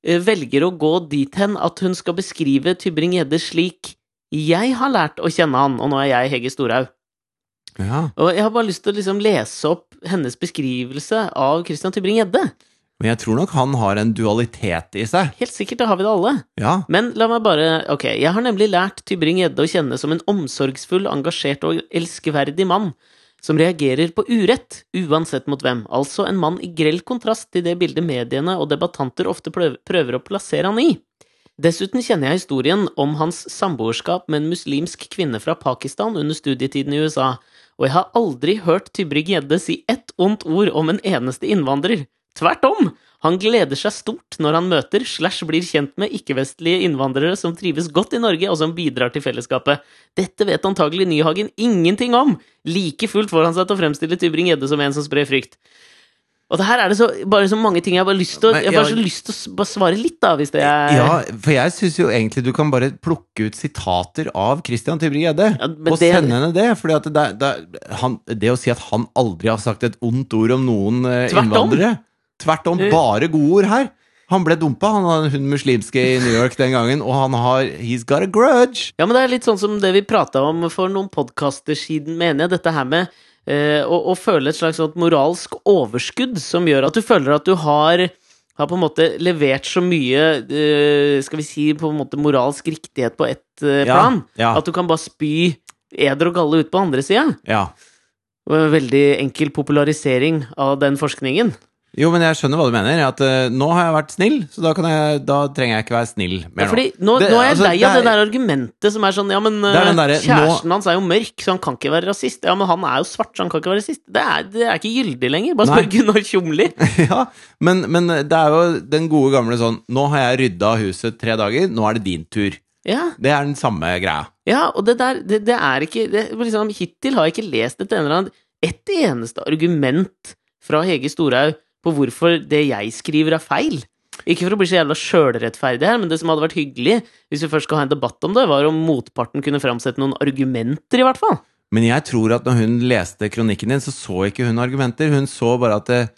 eh, velger å gå dit hen at hun skal beskrive Tybring-Gjedde slik jeg har lært å kjenne han, og nå er jeg Hege Storhaug.
Ja.
Og jeg har bare lyst til å liksom lese opp hennes beskrivelse av Christian Tybring-Gjedde.
Men jeg tror nok han har en dualitet i seg.
Helt sikkert, det har vi det alle.
Ja.
Men la meg bare Ok, jeg har nemlig lært Tybring-Gjedde å kjenne som en omsorgsfull, engasjert og elskverdig mann som reagerer på urett, uansett mot hvem. Altså en mann i grell kontrast til det bildet mediene og debattanter ofte prøv- prøver å plassere han i. Dessuten kjenner jeg historien om hans samboerskap med en muslimsk kvinne fra Pakistan under studietiden i USA, og jeg har aldri hørt Tybring-Gjedde si ett ondt ord om en eneste innvandrer. Tvert om! Han gleder seg stort når han møter slash blir kjent med ikke-vestlige innvandrere som trives godt i Norge, og som bidrar til fellesskapet. Dette vet antagelig Nyhagen ingenting om! Like fullt får han seg til å fremstille Tybring-Gjedde som en som sprer frykt. Og det her er det så, bare så mange ting jeg har bare lyst til å,
Men
jeg har bare
jeg-
så lyst til å s- bare svare litt, da, hvis det er
Ja, for jeg syns jo egentlig du kan bare plukke ut sitater av Christian Tybring-Gjedde
Ja, men
og
det-
sende henne det. Fordi at det, er- det, er- han, det å si at han aldri har sagt et ondt ord om noen eh,
Tvert om.
innvandrere Tvert om.
Eh.
Bare gode ord her. Han ble dumpa, han har hun muslimske i New York den gangen, og han har He's got a grudge.
Ja, men det er litt sånn som det vi prata om for noen podkaster siden, mener jeg. Dette her med eh, å, å føle et slags sånt moralsk overskudd som gjør at du føler at du har har på en måte levert så mye eh, skal vi si, på en måte moralsk riktighet på ett eh,
Ja,
plan
ja.
at du kan bare spy eder og galle ut på andre sida.
Ja.
Veldig enkel popularisering av den forskningen.
Jo, men jeg skjønner hva du mener. At eh, nå har jeg vært snill, så da, kan jeg, da trenger jeg ikke være snill mer
Ja, fordi
nå.
nå,
Det-
nå er jeg
altså,
lei av
det er-
det der argumentet som er sånn Ja, men
er den
eh,
derre-
kjæresten hans er jo mørk, så han kan ikke være rasist. Ja, men han er jo svart, så han kan ikke være rasist. Det er, det er ikke gyldig lenger. Bare spør
Nei.
Gunnar Tjomli.
Ja, men, men det er jo den gode gamle sånn Nå har jeg rydda huset tre dager, nå er det din tur.
Ja,
Det er den samme greia.
ja, og det der Det, det er ikke det, liksom, Hittil har jeg ikke lest et, eller annet, et eneste argument fra Hege Storhaug på hvorfor det jeg skriver, er feil. Ikke for å bli så jævla sjølrettferdig her, men det som hadde vært hyggelig, hvis vi først skal ha en debatt om det, var om motparten kunne framsette noen argumenter, i hvert fall.
Men jeg tror at når hun leste kronikken din, så så ikke hun argumenter. Hun så bare at eh,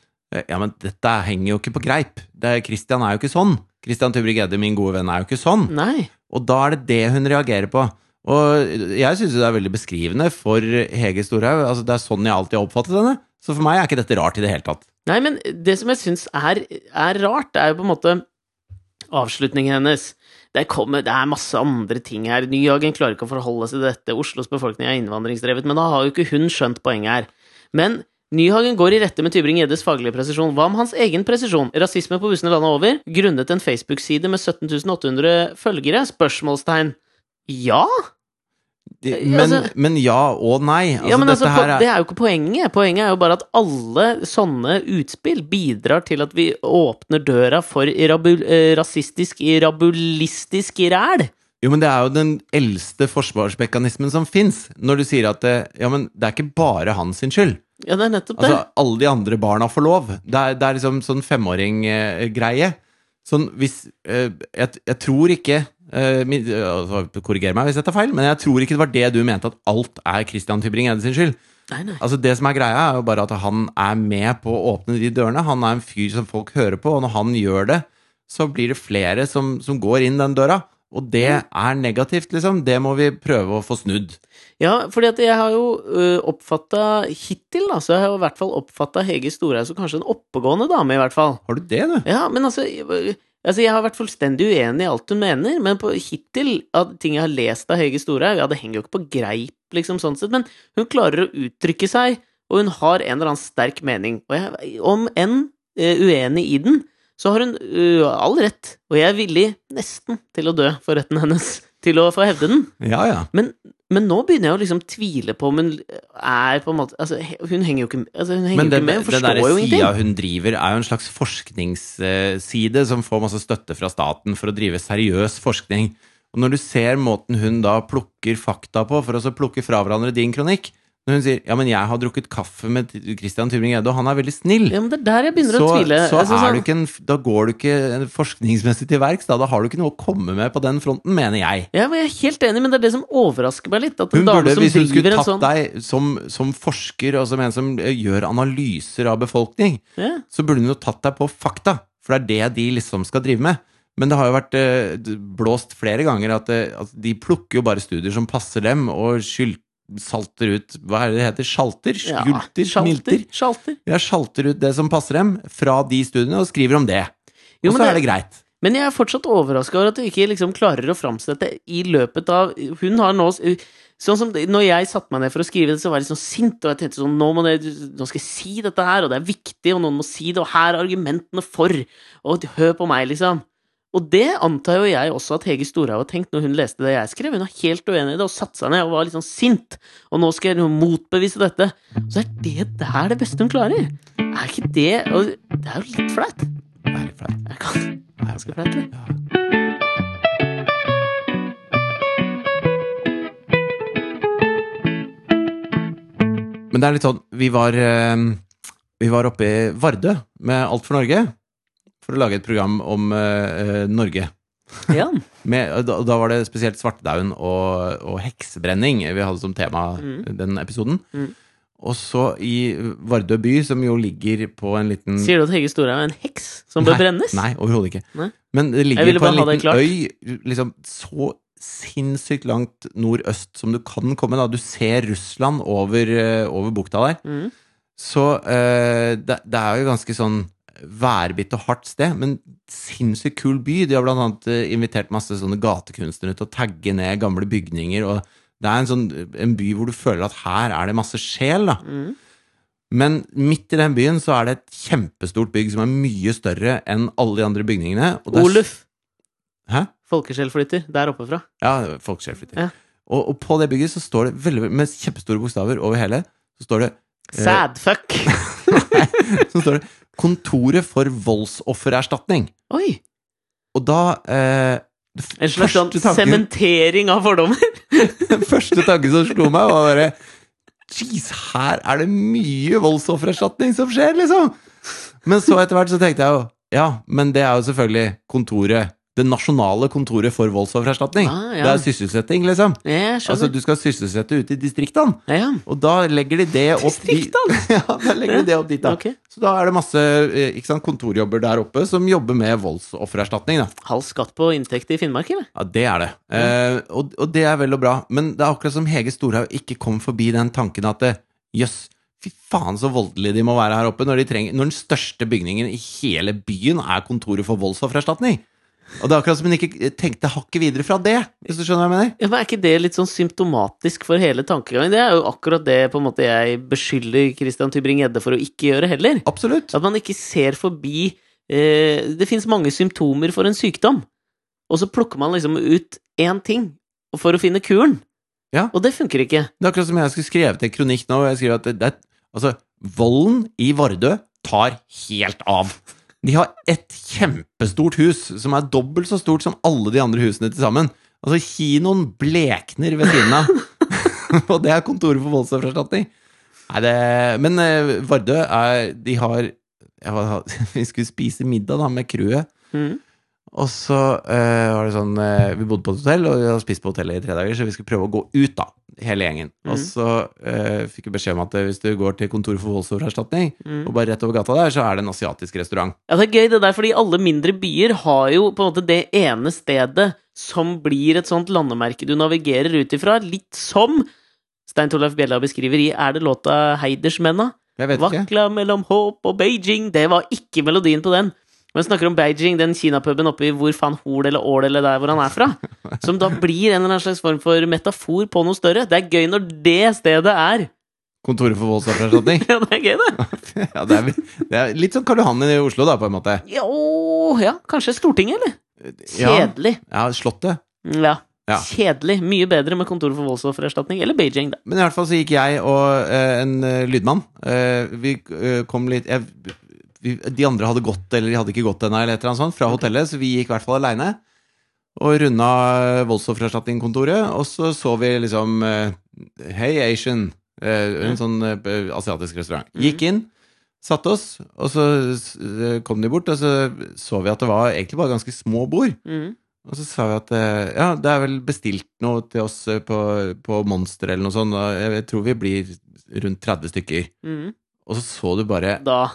Ja, men dette henger jo ikke på greip. Det, er- Christian er jo ikke sånn. Christian Tybrig-Gjedde, min gode venn, er jo ikke sånn.
Nei.
Og da er det det hun reagerer på. Og jeg syns det er veldig beskrivende for Hege Storhaug. Altså, det er sånn jeg alltid har oppfattet henne. Så for meg er ikke dette rart i det hele tatt.
Nei, men det som jeg syns er, er rart, er jo på en måte avslutningen hennes. Det, kommer, det er masse andre ting her. Nyhagen klarer ikke å forholde seg til dette. Oslos befolkning er innvandringsdrevet. Men da har jo ikke hun skjønt poenget her. Men Nyhagen går i rette med Tybring-Gjeddes faglige presisjon. Hva om hans egen presisjon? Rasisme på bussene landet over? Grunnet en Facebook-side med 17 800 følgere? Spørsmålstegn. Ja?
De-
Eh,
Men,
altså-
men ja og nei. Altså,
ja, men altså,
dette her
po-
er
Det er jo ikke poenget. Poenget er jo bare at alle sånne utspill bidrar til at vi åpner døra for irabul, eh, rasistisk, irabulistisk ræl.
Jo, men det er jo den eldste forsvarsmekanismen som fins, når du sier at eh, ja, men det er ikke bare hans sin skyld.
Ja, det er nettopp det.
Altså, alle de andre barna får lov. Det er, det er liksom sånn femåring-greie. Sånn hvis eh, jeg, jeg tror ikke eh, min, altså, Korriger meg hvis jeg tar feil, men jeg tror ikke det var det du mente, at alt er Christian Tybring-Edde sin skyld.
nei, nei.
Altså Det som er greia, er jo bare at han er med på å åpne de dørene. Han er en fyr som folk hører på, og når han gjør det, så blir det flere som, som går inn den døra. Og det er negativt, liksom. Det må vi prøve å få snudd.
Ja, fordi at jeg har jo uh, oppfatta hittil, da, så jeg har jo i hvert fall oppfatta Hege Storhaug som kanskje en oppegående dame, i hvert fall.
Har du det, du?
Ja, men altså jeg- Altså, jeg har vært fullstendig uenig i alt hun mener, men på, hittil av ting jeg har lest av Hege Storhaug Ja, det henger jo ikke på greip, liksom, sånn sett, men hun klarer å uttrykke seg, og hun har en eller annen sterk mening. Og jeg, om enn eh, uenig i den, så har hun eh, all rett, og jeg er villig nesten til å dø for retten hennes til å få hevde den.
Ja, ja.
Men nå begynner jeg å liksom tvile på om hun er på en måte altså, he- Hun henger jo ikke, altså, hun henger
Men
jo ikke
den,
med, hun
den
forstår
der
jo ingenting.
sida hun driver, er jo en slags forskningsside som får masse støtte fra staten for å drive seriøs forskning. Og når du ser måten hun da plukker fakta på, for å så plukke fra hverandre din kronikk Når hun sier 'ja, men jeg har drukket kaffe med Christian Tybring-Gjedde, og han er veldig snill',
Ja, men det er der jeg begynner
så,
å tvile.
så
Altså,
er
sånn-
du ikke en, da går du ikke en forskningsmessig til verks. Da. da har du ikke noe å komme med på den fronten, mener jeg.
Ja, men jeg er helt enig, men det er det som overrasker meg litt. At en
Hun
dame
burde,
som
hvis hun skulle
driver en
tatt
sånn
deg som, som forsker og som en som eh, gjør analyser av befolkning,
ja.
så burde hun jo tatt deg på fakta, for det er det de liksom skal drive med. Men det har jo vært eh, d- blåst flere ganger at, eh, at de plukker jo bare studier som passer dem, og sylter ut Hva er det det heter? Sjalter?
Ja,
Skulter?
sjalter,
Smilter?
Sjalter.
Ja, sjalter ut det som passer dem fra de studiene, og skriver om det.
Jo,
og så
men
er
det-
det greit.
Men jeg er fortsatt overraska over at hun ikke liksom klarer å framsette i løpet av Hun har nå Sånn som det- Når jeg satte meg ned for å skrive det, så var jeg litt sånn sint, og jeg tenkte sånn nå, må det, nå skal jeg si dette her, og det er viktig, og noen må si det, og her er argumentene for, og hør på meg, liksom. Og det antar jo jeg også at Hege Storhaug har tenkt når hun leste det jeg skrev. Hun er helt uenig i det, og satte seg ned og var litt sånn sint. Og nå skal jeg nå motbevise dette. Så er det der det beste hun klarer. Er ikke det og Det er jo litt flaut.
Det er litt flaut.
Jeg kan
Det er
ganske
flaut.
flaut, det.
Ja. Men det er litt sånn Vi var, eh, vi var oppe i Vardø med Alt for Norge for å lage et program om eh, eh, Norge.
Ja.
Med, og da, og da var det spesielt svartedauden og, og heksebrenning vi hadde som tema
Mm.
den episoden.
Mm.
Og så i Vardø by, som jo ligger på en liten
Sier du at Hege Storhaug er en heks som bør
Mm. Nei,
brennes?
Nei, overhodet ikke.
Nei.
Men det
Jeg
ligger
ville
på
bare
en
ha det
liten øy liksom så sinnssykt langt nordøst som du kan komme. da Du ser Russland over, eh, over bukta der.
Mm.
Så eh, det, det er jo ganske sånn værbitt og hardt sted, men sinnssykt kul by. De har blant annet eh, invitert masse sånne gatekunstnere til å tagge ned gamle bygninger. og det er en, sånn, en by hvor du føler at her er det masse sjel, da.
Mm.
Men midt i den byen så er det et kjempestort bygg som er mye større enn alle de andre bygningene. og det er-
Oluf,
Hæ?
folkeskjellflytter, der oppe fra.
Ja, folkeskjellflytter.
Ja.
Og, og på det bygget så står det veldig, med kjempestore bokstaver over hele så står det, Eh.
Sadfuck!
så står det 'Kontoret for voldsoffererstatning'.
Oi!
Og da eh, det f-
En slags sånn
første tanken-
sementering av fordommer.
Den første tanken som slo meg, var bare Jeez, her er det mye voldsoffererstatning som skjer, liksom! Men så etter hvert så tenkte jeg jo Ja, men det er jo selvfølgelig kontoret Det nasjonale kontoret for voldsoffererstatning.
Ah, ja.
Det er sysselsetting, liksom.
Jeg
Altså,
skjønner.
du skal sysselsette ute i distriktene.
Ja, ja.
Og da legger de det opp dit.
Distriktene!
Ja, da legger de det opp dit, da.
Ok.
Så da er det masse eh, ikke sant, kontorjobber der oppe som jobber med voldsoffererstatning, da.
Halv skatt på inntekt i Finnmark, eller?
Ja, det er det. Eh, og, og det er vel og bra. Men det er akkurat som Hege Storhaug ikke kom forbi den tanken at eh, jøss, fy faen så voldelige de må være her oppe når, de trenger, når den største bygningen i hele byen er kontoret for voldsoffererstatning. Og det er akkurat som hun ikke eh, tenkte hakket videre fra det, hvis du skjønner hva jeg mener.
Ja, men Er ikke det litt sånn symptomatisk for hele tankegangen? Det er jo akkurat det på en måte jeg beskylder Christian Tybring-Gjedde for å ikke gjøre heller.
Absolutt.
At man ikke ser forbi eh, Det fins mange symptomer for en sykdom, og så plukker man liksom ut én ting for å finne kuren.
Ja.
Og det funker ikke.
Det er akkurat som jeg skulle skrevet en kronikk nå. hvor Jeg skriver at det, det, er- altså, volden i Vardø tar helt av. De har et kjempestort hus som er dobbelt så stort som alle de andre husene til sammen. Altså, kinoen blekner ved siden av. Og det er kontoret for voldsoffererstatning. Nei, det Men eh, Vardø er De har jeg var, Vi skulle spise middag da med crewet.
Mhm.
Og så eh, var det sånn eh, Vi bodde på et hotell, og vi hadde spist på hotellet i tre dager, så vi skulle prøve å gå ut, da, hele gjengen. Og
Mhm.
så eh, fikk vi beskjed om at eh, hvis du går til kontoret for voldsoffererstatning,
Mhm.
og bare rett over gata der, så er det en asiatisk restaurant.
Ja, det er gøy det der, fordi alle mindre byer har jo på en måte det ene stedet som blir et sånt landemerke du navigerer ut ifra, litt som Stein Torleif Bjella beskriver i Er det låta Heidersmenna?
Jeg vet ikke.
Vakla mellom håp og Beijing. Det var ikke melodien på den. Men han snakker om Beijing, den kinapuben oppe i hvor faen Hol eller Ål eller der hvor han er fra. Som da blir en eller annen slags form for metafor på noe større. Det er gøy når det stedet er.
Kontoret for voldsoffererstatning.
Ja, det er gøy, det.
ja, det, er, det er litt sånn Karl Johan i Oslo, da, på en måte.
Jo, ja, kanskje Stortinget, eller?
Ja,
Kjedelig. Mm,
ja Slottet.
Ja.
Ja.
Kjedelig. Mye bedre med Kontoret for voldsoffererstatning. Eller Beijing, da.
Men i hvert fall så gikk jeg og eh, en eh, lydmann eh, Vi eh, kom litt jeg, vi, De andre hadde gått, eller de hadde ikke gått ennå, eller et eller annet sånt, fra hotellet, så vi gikk i hvert fall aleine. Og runda eh, voldsoffererstatningskontoret, og så så vi liksom eh, Hey Asian! eh, En sånn eh, asiatisk restaurant. Gikk inn, satte oss, og så eh, kom de bort, og så så vi at det var egentlig bare ganske små bord.
Mm.
Og så sa vi at eh, ja, det er vel bestilt noe til oss eh, på, på Monster eller noe sånt. og Jeg jeg tror vi blir rundt 30 stykker.
Mm.
Og så så du bare
Da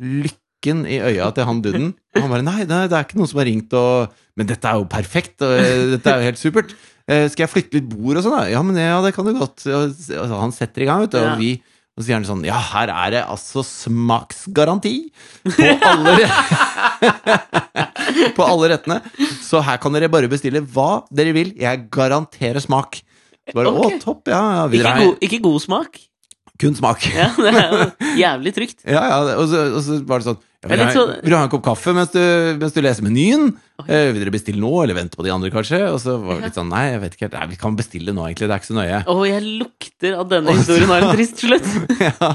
lykken i øya til han duden. Og han bare nei, nei, det er ikke noen som har ringt og Men dette er jo perfekt, og eh, dette er jo helt supert. Eh, Skal jeg flytte litt bord og sånn, da? Ja, men ja, det kan du godt. Og s- og så han setter i gang, vet du.
Ja.
Og vi og så sier han sånn Ja, her er det altså smaksgaranti på alle re- På alle rettene. Så her kan dere bare bestille hva dere vil. Jeg garanterer smak. Så Bare,
Ok.
Å, topp, ja. ja vi
ikke
drar-
god, ikke god smak.
Kun smak.
Ja, det er jo jævlig trygt.
Ja, ja, det- og så, og så var det sånn ja, vil,
Det er
du
litt
ha,
sånn-
vil du ha en kopp kaffe mens du, mens du leser menyen? Eh, vil dere bestille nå, eller vente på de andre, kanskje? Og så var det litt sånn, nei, jeg vet ikke helt. Nei, vi kan bestille nå, egentlig. Det er ikke så nøye.
Å, jeg lukter at denne historien har en trist slutt.
Ja,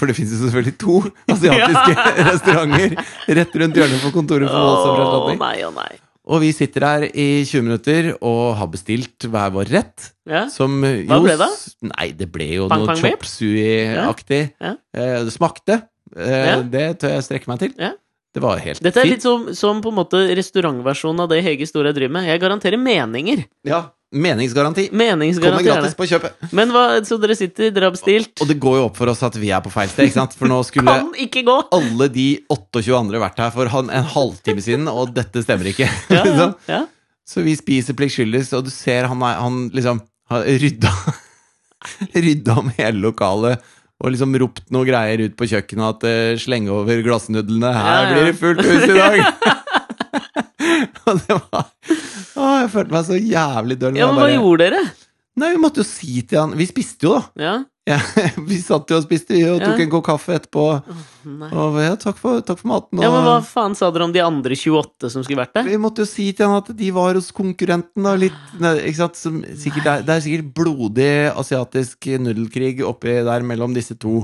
for det finnes jo selvfølgelig to asiatiske restauranter rett rundt hjørnet for kontoret for
Å
voldsoffererstatning.
nei, å nei.
Og vi sitter her i 20 minutter og har bestilt hver vår rett.
Ja.
Som jo
Hva ble det?
s- Nei, det ble jo
Pang,
noe
pang,
chop sui-aktig.
Ja.
Eh, det smakte. Eh,
Ja.
Det tør jeg strekke meg til.
Ja.
Det var helt
Dette er
fint.
litt som, som på en måte restaurantversjonen av det Hege Store driver med. Jeg garanterer meninger.
Ja, meningsgaranti. Kommer
Meningsgaranti Mm, er
gratis på kjøpet.
det. Men hva, så dere sitter, dere har bestilt.
Og det går jo opp for oss at vi er på feil sted, ikke sant? For nå skulle
Kan ikke gå!
alle de 28 andre vært her for han, en halvtime siden, og dette stemmer ikke.
Ja, ja,
Så-
ja.
Så vi spiser pliktskyldigst, og du ser han, er, han liksom har rydda Rydda om hele lokalet. Og liksom ropt noe greier ut på kjøkkenet at eh, 'slenge over glassnudlene', her
Ja, ja.
blir det fullt hus i dag! og det var Å, jeg følte meg så jævlig døll.
ja,
Jeg
men hva
bare-
gjorde dere?
Nei, vi måtte jo si til han Vi spiste jo, da. Ja,
Ja.
vi satt jo og spiste vi, og tok
Ja.
en god kaffe etterpå.
Nei.
Og ja, takk for, takk for maten. Og
Ja, men hva faen sa dere om de andre 28 som skulle vært der?
Vi måtte jo si til han at de var hos konkurrenten, da. Litt, ne, ikke sant? Som sikkert er, det er sikkert blodig asiatisk nudelkrig oppi der mellom disse to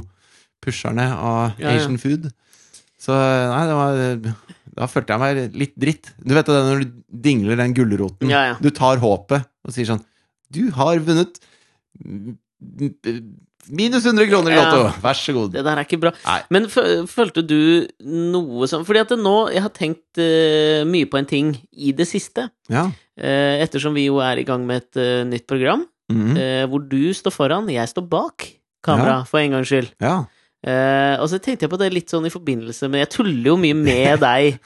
pusherne av
Ja, ja.
Asian food. Så nei, det var Da følte jeg meg litt dritt. Du vet det når du dingler den gulroten.
Ja, ja.
Du tar håpet og sier sånn Du har vunnet minus 100 kroner i
Ja.
Lotto! Vær så god.
Det der er ikke bra.
Nei.
Men fø- følte du noe sånn Fordi at det nå Jeg har tenkt eh, mye på en ting i det siste.
Ja.
Eh, ettersom vi jo er i gang med et eh, nytt program,
Mhm.
eh, hvor du står foran, jeg står bak kamera, for en gangs skyld.
ja.
Eh, og så tenkte jeg på det litt sånn i forbindelse med Jeg tuller jo mye med deg.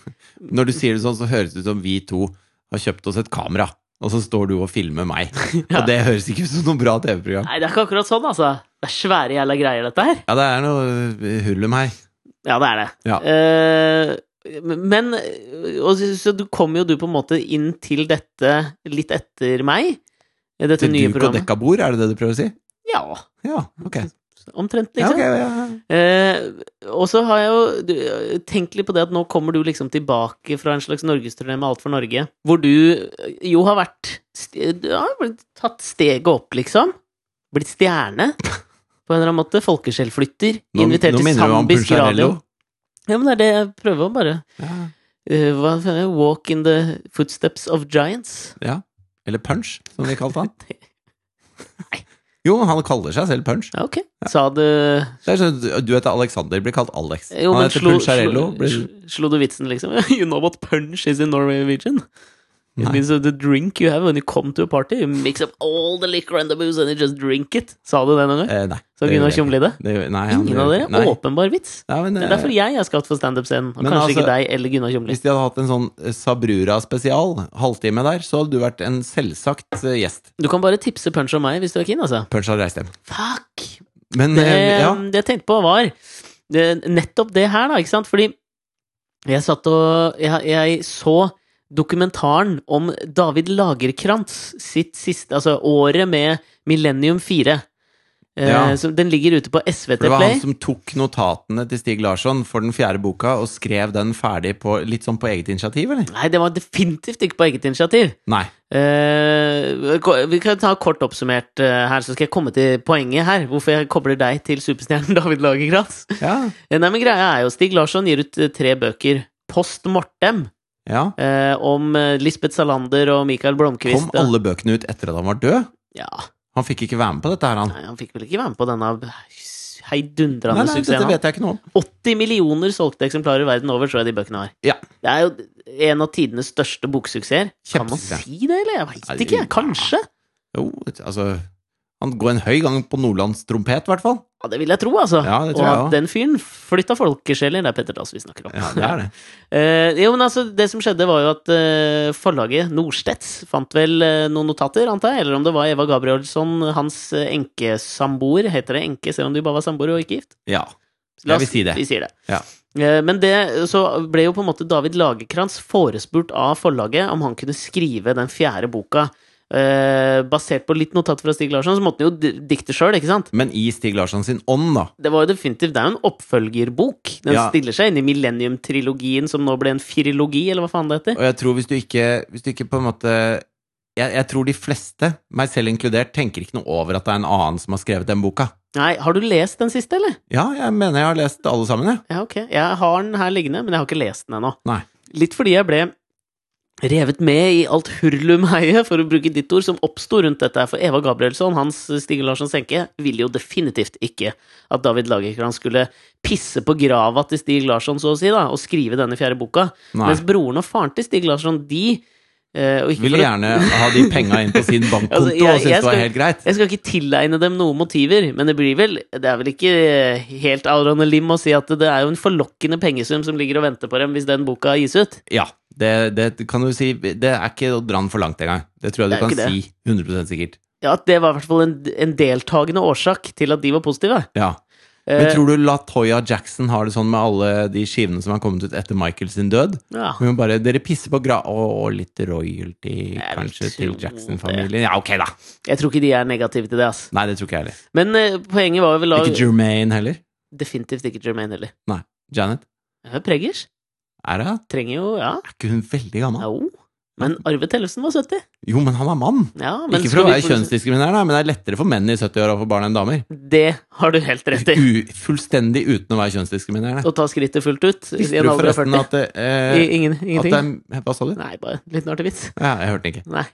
Når du sier det sånn, så høres det ut som vi to har kjøpt oss et kamera, og så står du og filmer meg.
Ja.
Og det høres ikke ut som noe bra TV-program.
Nei, det er ikke akkurat sånn, altså. Det er svære jævla greier, dette her.
Ja, det er noe eh, hull om her.
Ja, det er det.
Ja.
Eh, men og, Så så du kom jo du på en måte inn til dette litt etter meg. Dette
Til
nye
duk og
programmet.
dekka bord, er det det du prøver å si?
Ja,
Ja, ok.
omtrent,
Ja,
liksom.
ok, ja, ja.
Eh, og så har jeg jo du, tenkt litt på det at nå kommer du liksom tilbake fra en slags norgesturné med Alt for Norge, hvor du eh, jo har vært st- eh, Du har blitt tatt steget opp, liksom. Blitt stjerne. På en eller annen måte. Folkesjelflytter.
Nå,
Invitert
nå
til
minner du om
zambisk radio.
Puncharello.
Ja, men det er det jeg prøver å bare
Ja.
eh, Hva faen er det? Walk in the footsteps of giants.
ja. Eller Punch, som vi kalte han. Jo, han kaller seg selv Punch.
Ja, ok. Sa du
Det er sånn, Du heter Alexander, blir kalt Alex.
Jo,
han
men
heter
slo,
Puncharello.
slo,
Blir...
sl- slo du vitsen, liksom? You know what punch is in Norwegian? It
Nei.
means the drink you have when you come to a party. You mix up all the liquor and the booze and you just drink it. Sa du det noen gang?
Eh, nei.
Sa
det gjør
Gunnar
jeg ikke.
Tjomli det?
Det gjør- Nei, han
Ingen
gjør
av
ikke-
dere?
Nei.
Åpenbar vits.
Nei, men,
Det er
eh,
derfor jeg er skapt for standup-scenen, og
Men
kanskje
altså-
ikke deg eller Gunnar Tjomli.
Hvis de hadde hatt en sånn eh, Sabrura-spesial, halvtime der, så hadde du vært en selvsagt eh, gjest.
Du kan bare tipse Punch om meg hvis du er keen, altså.
Punch hadde reist hjem.
Fuck!
Men
Det,
eh, ja,
det jeg tenkte på, var det, nettopp det her, da, ikke sant? Fordi Jeg satt og Jeg, jeg så dokumentaren om David Lagerkrantz sitt siste Altså året med Millennium 4. Eh,
Ja.
som, den ligger ute på SVT
For det var
Play.
han som tok notatene til Stig Larsson for den fjerde boka, og skrev den ferdig på, litt sånn på eget initiativ, eller?
Nei, det var definitivt ikke på eget initiativ.
Nei.
Eh, ko- vi kan ta kort oppsummert eh, her, så skal jeg komme til poenget her. Hvorfor jeg kobler deg til superstjernen David Lagerkrantz.
Ja.
Eh, Nei, men greia er jo Stig Larsson gir ut eh, tre bøker post mortem
ja.
eh, om eh, Lisbeth Salander og Michael
Kom
Blomkvist. og-
alle bøkene ut etter at han var død?
Ja,
Han fikk ikke være med på dette her, han.
nei, Han fikk vel ikke være med på denne
Nei,
heidundrende
nei, dette
suksessen?
vet jeg ikke noe om.
80 millioner solgte eksemplarer verden over, tror jeg de bøkene har.
Ja.
Det er jo en av tidenes største boksuksesser. Kan man
Kjempesuksess.
si det, eller? Jeg veit
Nei,
ikke. Kanskje?
Jo, altså Han går en høy gang på Nordlands trompet, i hvert fall.
Ja, det vil jeg tro, altså.
Ja, det tror
og
jeg
at
også.
den fyren flytta folkesjeler. Det er Petter Dass vi snakker om.
Ja, det er det.
Eh, jo, men altså, det som skjedde, var jo at eh, forlaget Norstedts fant vel eh, noen notater, antar jeg, eller om det var Eva Gabrielsson, hans eh, enkesamboer. Heter det enke selv om de bare var samboere og ikke gift?
Ja.
La
Jeg vil
oss-
si det.
Vi sier det.
Ja.
Eh, Men det, så ble jo på en måte David Lagerkrantz forespurt av forlaget om han kunne skrive den fjerde boka. Eh, basert på litt notat fra Stig Larsson, så måtte han jo di- dikte sjøl, ikke sant?
Men i Stig Larsson sin ånd, da.
Det var jo definitivt, det er jo en oppfølgerbok. Den
Ja.
stiller seg inn i millennium-trilogien, som nå ble en firilogi, eller hva faen det heter.
Og jeg tror hvis du ikke, hvis du ikke på en måte jeg, jeg tror de fleste, meg selv inkludert, tenker ikke noe over at det er en annen som har skrevet den boka.
Nei, har du lest den siste, eller?
Ja, jeg mener jeg har lest alle sammen, jeg.
Ja, ok. Jeg har den her liggende, men jeg har ikke lest den ennå.
Nei.
Litt fordi jeg ble revet med i alt hurlumheiet, for å bruke ditt ord, som oppsto rundt dette. her. For Eva Gabrielsson, hans Stig Larsson Senke, ville jo definitivt ikke at David Lagerkrantz skulle pisse på grava til Stig Larsson, så å si, da, og skrive denne fjerde boka.
Nei.
Mens broren og faren til Stig Larsson, de eh, og ikke
Ville
for å-
gjerne ha de penga inn på sin bankkonto
Altså, jeg-
og syntes
jeg
det var
skal-
helt greit.
Jeg skal ikke tilegne dem noen motiver, men det blir vel Det er vel ikke helt out on a limb å si at det er jo en forlokkende pengesum som ligger og venter på dem hvis den boka gis ut.
Ja, det, det kan du si. Det er ikke å dra den for langt engang. Det tror jeg
Det
du
er ikke
kan si 100 sikkert.
Ja, at det var i hvert fall en, en deltagende årsak til at de var positive.
Ja. Men
Eh,
tror du Latoya Jackson har det sånn med alle de skivene som har kommet ut etter Michael sin død?
Eh, ja.
Hun bare Dere pisser på gra... Og, og litt royalty,
Jeg
kanskje,
vil
til
tro
Jackson-familien. Ja, ok, da!
Jeg tror ikke de er negative til det, ass.
Nei, det tror ikke jeg heller.
Men eh, poenget var vel da
Ikke Jermaine heller.
Definitivt ikke Jermaine heller.
Janet.
Ja, Preggers
Er, det?
trenger jo Ja,
er ikke hun veldig gammel?
jo. Men Arve Tellefsen var 70.
Jo, men han er mann!
Ja, men
ikke for å
skal
være
vi få-
kjønnsdiskriminerende, men det er lettere for menn i 70-åra å få barn enn damer.
Det har du helt rett i.
U fullstendig uten å være kjønnsdiskriminerende.
Å ta skrittet fullt ut i
Visste
en
du
alder av
forresten
40.
at det, eh,
I, ingen,
at
ingenting?
det er Hva sa du?
Nei, bare en liten artig vits.
Ja, jeg hørte den ikke.
Nei.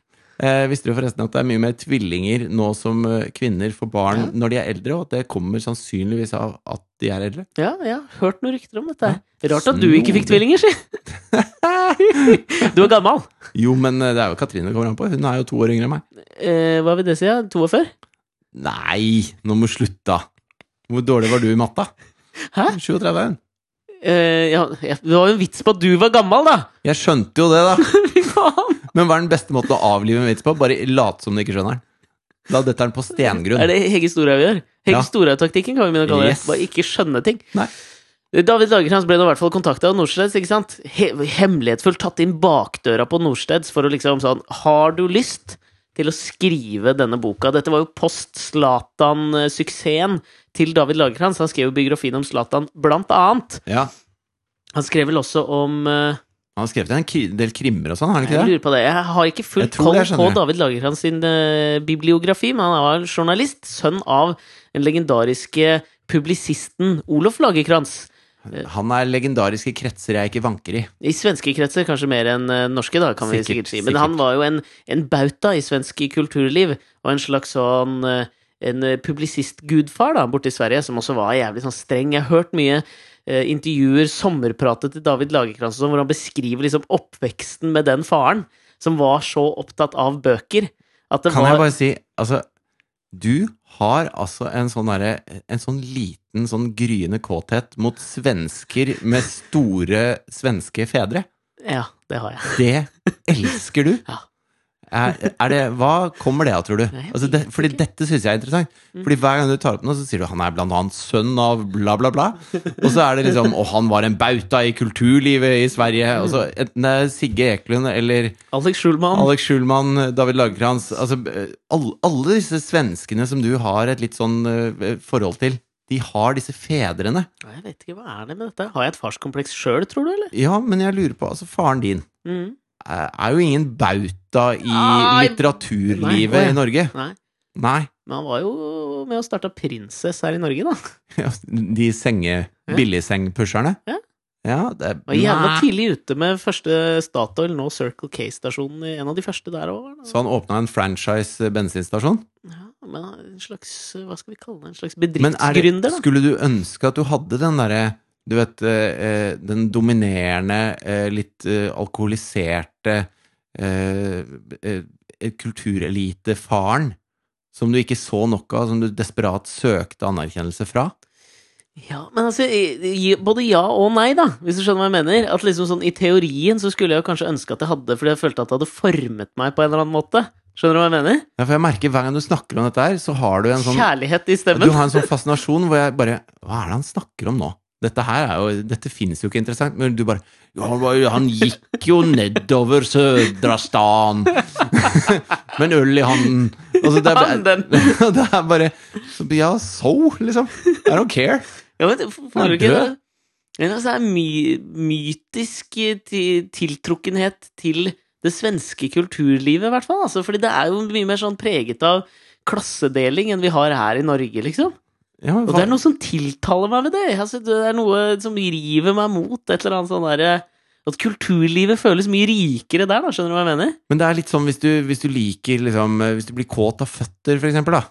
Eh, visste du forresten at det er mye mer tvillinger nå som eh, kvinner får barn
Ja.
når de er eldre, og at det kommer sannsynligvis av at de er eldre?
Ja, jeg har hørt noen rykter om dette. her. Rart at du ikke fikk
Snodig.
tvillinger, si! Du er gammel.
Jo, men eh, det er jo Katrine det kommer an på. Hun er jo to år yngre enn meg.
Eh, hva vil det si? Ja? 42?
Nei, nå må du slutte, da. Hvor dårlig var du i matta?
Hæ?
37 er hun.
Eh, ja, ja, det var jo en vits på at du var gammel, da!
Jeg skjønte jo det, da.
Fy faen!
Men hva er den beste måten å avlive en vits på? Bare late som du ikke skjønner den. Da detter den på
Er
stengrunn.
det Hege Storhaug gjør? Hege
Ja.
Storhaug-taktikken kan vi begynne å kalle det.
Yes.
Bare ikke skjønne ting.
Nei.
David Lagerkrans ble nå i hvert fall kontakta av Norstedts, ikke sant? He hemmelighetsfullt tatt inn bakdøra på Norstedts for å liksom sånn Har du lyst til å skrive denne boka? Dette var jo post Zlatan-suksessen til David Lagerkrans. Han skrev jo biografien om Zlatan, blant annet.
Ja,
Han skrev vel også om eh,
Han har skrevet en kri- del krimmer og sånn, har han
Jeg
ikke det?
lurer på det. Jeg har ikke
Jeg
fullt
tror
koll
det,
på
skjønner jeg.
David Lagerkrans sin eh, bibliografi, men han var journalist. Sønn av den legendariske publisisten Olof Lagerkrans.
Han er legendarisk i kretser jeg ikke vanker i.
I svenske kretser kanskje mer enn eh, norske, da, kan vi
Sikkert,
sikkert si. Men
sikkert.
han var jo en, en bauta i svensk kulturliv, og en slags sånn eh, en eh, publisistgudfar da, borte i Sverige, som også var jævlig sånn streng. Jeg har hørt mye eh, intervjuer, sommerpratet til David Lagerkrantz, og sånn, hvor han beskriver liksom oppveksten med den faren, som var så opptatt av bøker. At det
Kan
var,
jeg bare si, altså Du har altså en sånn derre En sånn liten, sånn gryende kåthet mot svensker med store svenske fedre.
Ja, det har jeg.
Det elsker du!
Ja.
er, er det, hva kommer det av, tror du?
Nei, jeg Mm.
Altså det, fordi dette syns jeg er interessant. Fordi hver gang du tar opp noe, så sier du han er blant annet sønn av bla, bla, bla. Og så er det liksom Og han var en bauta i kulturlivet i Sverige. Og så enten det er Sigge Eklund eller
Alex Schulman.
Alex Schulman, David Lagerkrantz altså, eh, alle, alle disse svenskene som du har et litt sånn eh, forhold til, de har disse fedrene.
Nei, Jeg vet ikke, hva er det med dette? Har jeg et farskompleks sjøl, tror du, eller?
Ja, men jeg lurer på Altså, faren din
Mm.
eh, er jo ingen bauta i
Nei.
litteraturlivet
Nei.
i Norge.
Nei.
Nei.
Men han var jo med og starta Prinsess her i Norge, da.
Ja, De senge,
Ja.
billigsengpusherne?
Ja.
Ja, det er
Var jævla
Nei.
tidlig ute med første Statoil, nå Circle K-stasjonen. i- En av de første der òg.
Så han åpna en franchise eh, bensinstasjon?
Ja, men en slags Hva skal vi kalle det? En slags
Men er det,
bedriftsgründer, da.
skulle du ønske at du hadde den derre Du vet, eh, eh, den dominerende, eh, litt eh, alkoholiserte eh, eh, kulturelitefaren som du ikke så nok av, som du desperat søkte anerkjennelse fra?
Ja, men altså, i- i- både ja og nei, da, hvis du skjønner hva jeg mener. At liksom sånn, I teorien så skulle jeg jo kanskje ønske at jeg hadde, fordi jeg følte at det hadde formet meg på en eller annen måte. Skjønner du hva jeg mener?
Ja, for jeg merker Hver gang du snakker om dette her, så har du en sånn
Kjærlighet i
Du
stemmen.
har en sånn fascinasjon hvor jeg bare Hva er det han snakker om nå? Dette her er jo Dette finnes jo ikke interessant. Men du bare ja, han var jo- Han gikk jo nedover Sødrastan med en øl i hånden. Altså, det, er,
Handen.
det er bare Ja, so, liksom. I don't care.
Ja, men, f- får du
er
ikke
død.
det? Men altså, det er my mytisk eh, ti- tiltrukkenhet til det svenske kulturlivet, i hvert fall. Altså, fordi det er jo mye mer sånn preget av klassedeling enn vi har her i Norge, liksom.
Ja, men,
Og det er noe som tiltaler meg ved det. Altså, det er noe som river meg mot et eller annet sånn derre At kulturlivet føles mye rikere der, da, skjønner du hva jeg mener?
men det er litt sånn hvis du, hvis du liker liksom Hvis du blir kåt av føtter, for eksempel, da.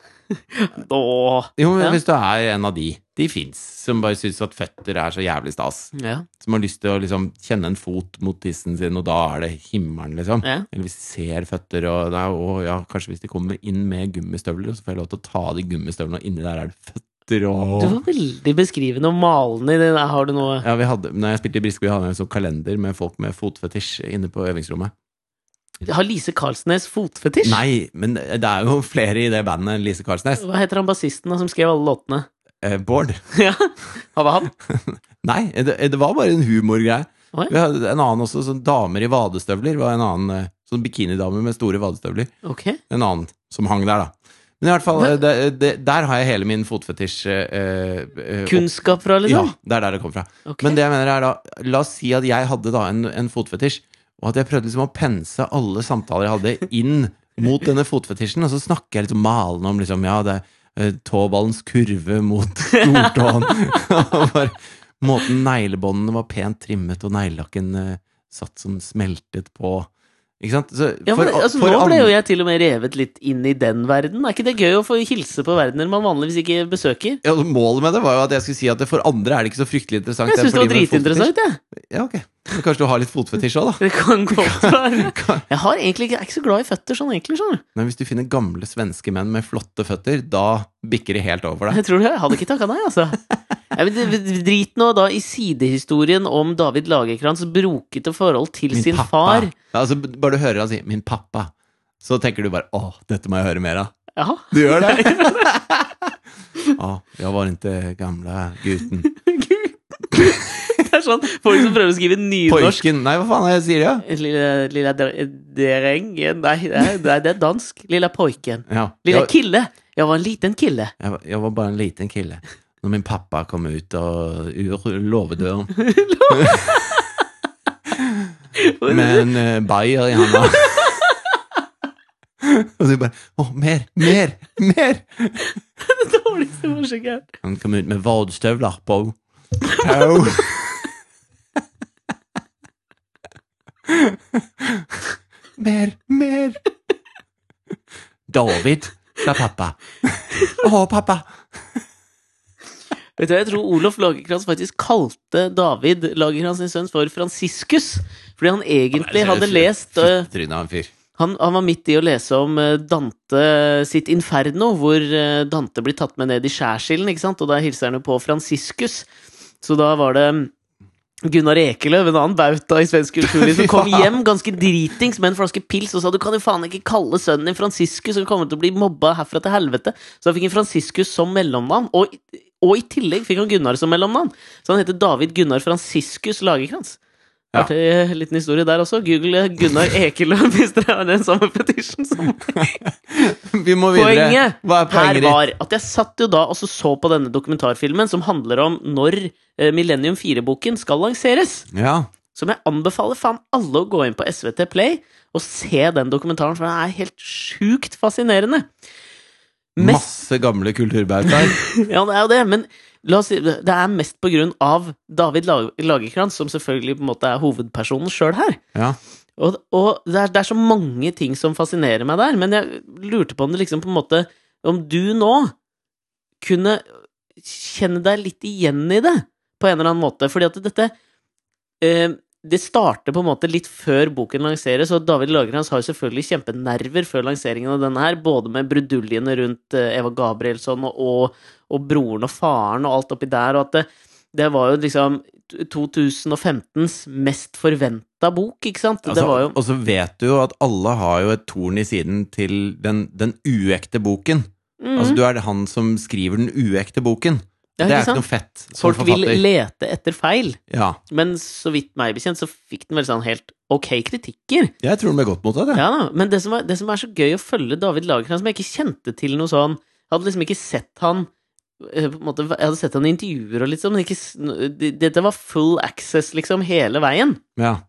Åh.
Jo, men
Ja.
hvis du er en av de. De fins. Som bare syns at føtter er så jævlig stas.
Ja.
som har lyst til å liksom kjenne en fot mot tissen sin, og da er det himmelen, liksom.
Ja.
Eller hvis de ser føtter, og, nei, og ja, kanskje hvis de kommer inn med gummistøvler, så får jeg lov til å ta av de gummistøvlene, og inni der er det føtter og
Du var veldig beskrivende og malende i det der. Har du noe
ja, vi hadde, Når jeg spilte i Briskeby, hadde vi en sånn kalender med folk med fotfetisj inne på øvingsrommet.
Har Lise Karlsnes fotfetisj?
Nei, men det er jo flere i det bandet enn Lise Karlsnes.
Hva heter han bassisten da, som skrev alle låtene?
Eh, Bård.
ja, hva var han?
Nei, det, det var bare en humorgreie.
Oi.
Vi hadde en annen også, sånn damer i vadestøvler. var en annen eh, Sånn bikinidame med store vadestøvler.
Ok.
en annen som hang der, da. Men i hvert fall, eh, det, det, der har jeg hele min fotfetisj eh, eh,
Kunnskap fra,
opp- Ja,
liksom?
det er der det kom fra.
Ok.
Men det jeg mener er da, la oss si at jeg hadde da en, en fotfetisj, og at jeg prøvde liksom å pense alle samtaler jeg hadde inn mot denne fotfetisjen, og så snakker jeg litt malende om liksom, ja, det er eh, tåballens kurve mot stortåen, og bare måten neglebåndene var pent trimmet, og neglelakken eh, satt som smeltet på, ikke sant? Så,
ja, men,
for-
altså,
for
nå ble
andre-
jo jeg til og med revet litt inn i den verden. Er ikke det gøy å få hilse på verdener man vanligvis ikke besøker?
Ja, altså, målet med det var jo at jeg skulle si at det for andre er det ikke så fryktelig interessant.
Jeg syns det
er
var
fordi med
dritinteressant, jeg.
fotfetisj. Ja, ok. Men kanskje du har litt fotfetisj òg,
Det kan godt være.
da?
Jeg har egentlig ikke, jeg er ikke så glad i føtter sånn, egentlig. skjønner du?
Men hvis du finner gamle svenske menn med flotte føtter, da bikker de helt over deg.
Jeg tror det. Jeg hadde ikke takka nei, altså. Nei, men det- Drit nå da i sidehistorien om David Lagerkrantz brokete forhold til sin far.
Ja, altså, bare du hører han si 'min pappa', så tenker du bare 'Å, dette må jeg høre mer av'.
Ja,
Du gjør det? Ja, jeg var ikke gamle gutten.
Gud. Det er sånn folk som prøver å skrive nynorsk.
Pojken Nei, hva faen er det jeg sier, ja?
Lille, lille dre- drengen Nei, det er, det er- det er dansk. Lille poiken.
ja
Lille
jeg-
kille. Jeg var en liten kille.
Jeg var, jeg var bare en liten kille Når min pappa kom ut av ur låvedøren Med en eh, bayer i handa Og så bare, åh, mer, mer, mer
Det dårligste forsøket jeg har hørt.
Han kom ut med vadstøvler på På Mer, mer David, sa pappa Åh, pappa
Vet du, hva, Jeg tror Olof Lagerkrantz faktisk kalte David Lagerkrantz sin sønn for Franciscus. Fordi han egentlig hadde lest eh,
Trynet av en fyr
han, han var midt i å lese om eh, Dante sitt Inferno, hvor eh, Dante blir tatt med ned i skjærsilden, ikke sant? Og da hilser han jo på Franciscus. Så da var det Gunnar Ekeløv, en annen bauta i svensk kulturliv, som kom
Ja.
hjem ganske dritings med en flaske pils og sa du kan jo faen ikke kalle sønnen din Franciscus, han kommer til å bli mobba herfra til helvete. Så han fikk en Franciscus som mellomnavn, og, og i tillegg fikk han Gunnar som mellomnavn. Så han heter David Gunnar Franciscus Lagerkrans.
Ja.
Artig eh, liten historie der også. Google Gunnar Ekeløv hvis dere har den samme fetisjen som meg.
Vi må videre.
Poenget,
Hva er poenget
her
ditt?
var at jeg satt jo da og så så på denne dokumentarfilmen som handler om når eh, Millennium 4-boken skal lanseres.
Ja.
Som jeg anbefaler faen alle å gå inn på SVT Play og se den dokumentaren, for den er helt sjukt fascinerende. Mest,
Masse gamle kulturbautaer.
ja, det er jo det, men la oss si, det er mest på grunn av David Lag- Lagerkrantz, som selvfølgelig på en måte er hovedpersonen sjøl her.
Ja.
Og, og det, er, det er så mange ting som fascinerer meg der, men jeg lurte på om det liksom på en måte Om du nå kunne kjenne deg litt igjen i det, på en eller annen måte. Fordi at dette eh, Det starter på en måte litt før boken lanseres, og David Lagerhans har jo selvfølgelig kjempenerver før lanseringen av denne her, både med bruduljene rundt eh, Eva Gabrielsson og, og, og broren og faren og alt oppi der, og at det, det var jo liksom 2015s mest forventa bok, ikke sant?
Altså,
det var jo
Og så vet du jo at alle har jo et torn i siden til den, den uekte boken.
Mhm.
Altså, du er han som skriver den uekte boken. det
Ja, ikke
er ikke
sant?
noe fett som
Folk vil
forfatter.
lete etter feil,
Ja.
men så vidt meg bekjent, så fikk den vel sånn helt ok kritikker.
Jeg tror den ble godt mottatt, jeg.
Ja da, Men det som, er, det som er så gøy å følge David Lagerkrantz, som jeg ikke kjente til noe sånn Jeg hadde liksom ikke sett han eh, på en måte, Jeg hadde sett han i intervjuer og litt sånn, men ikke, s- det- dette var full access liksom hele veien.
Ja.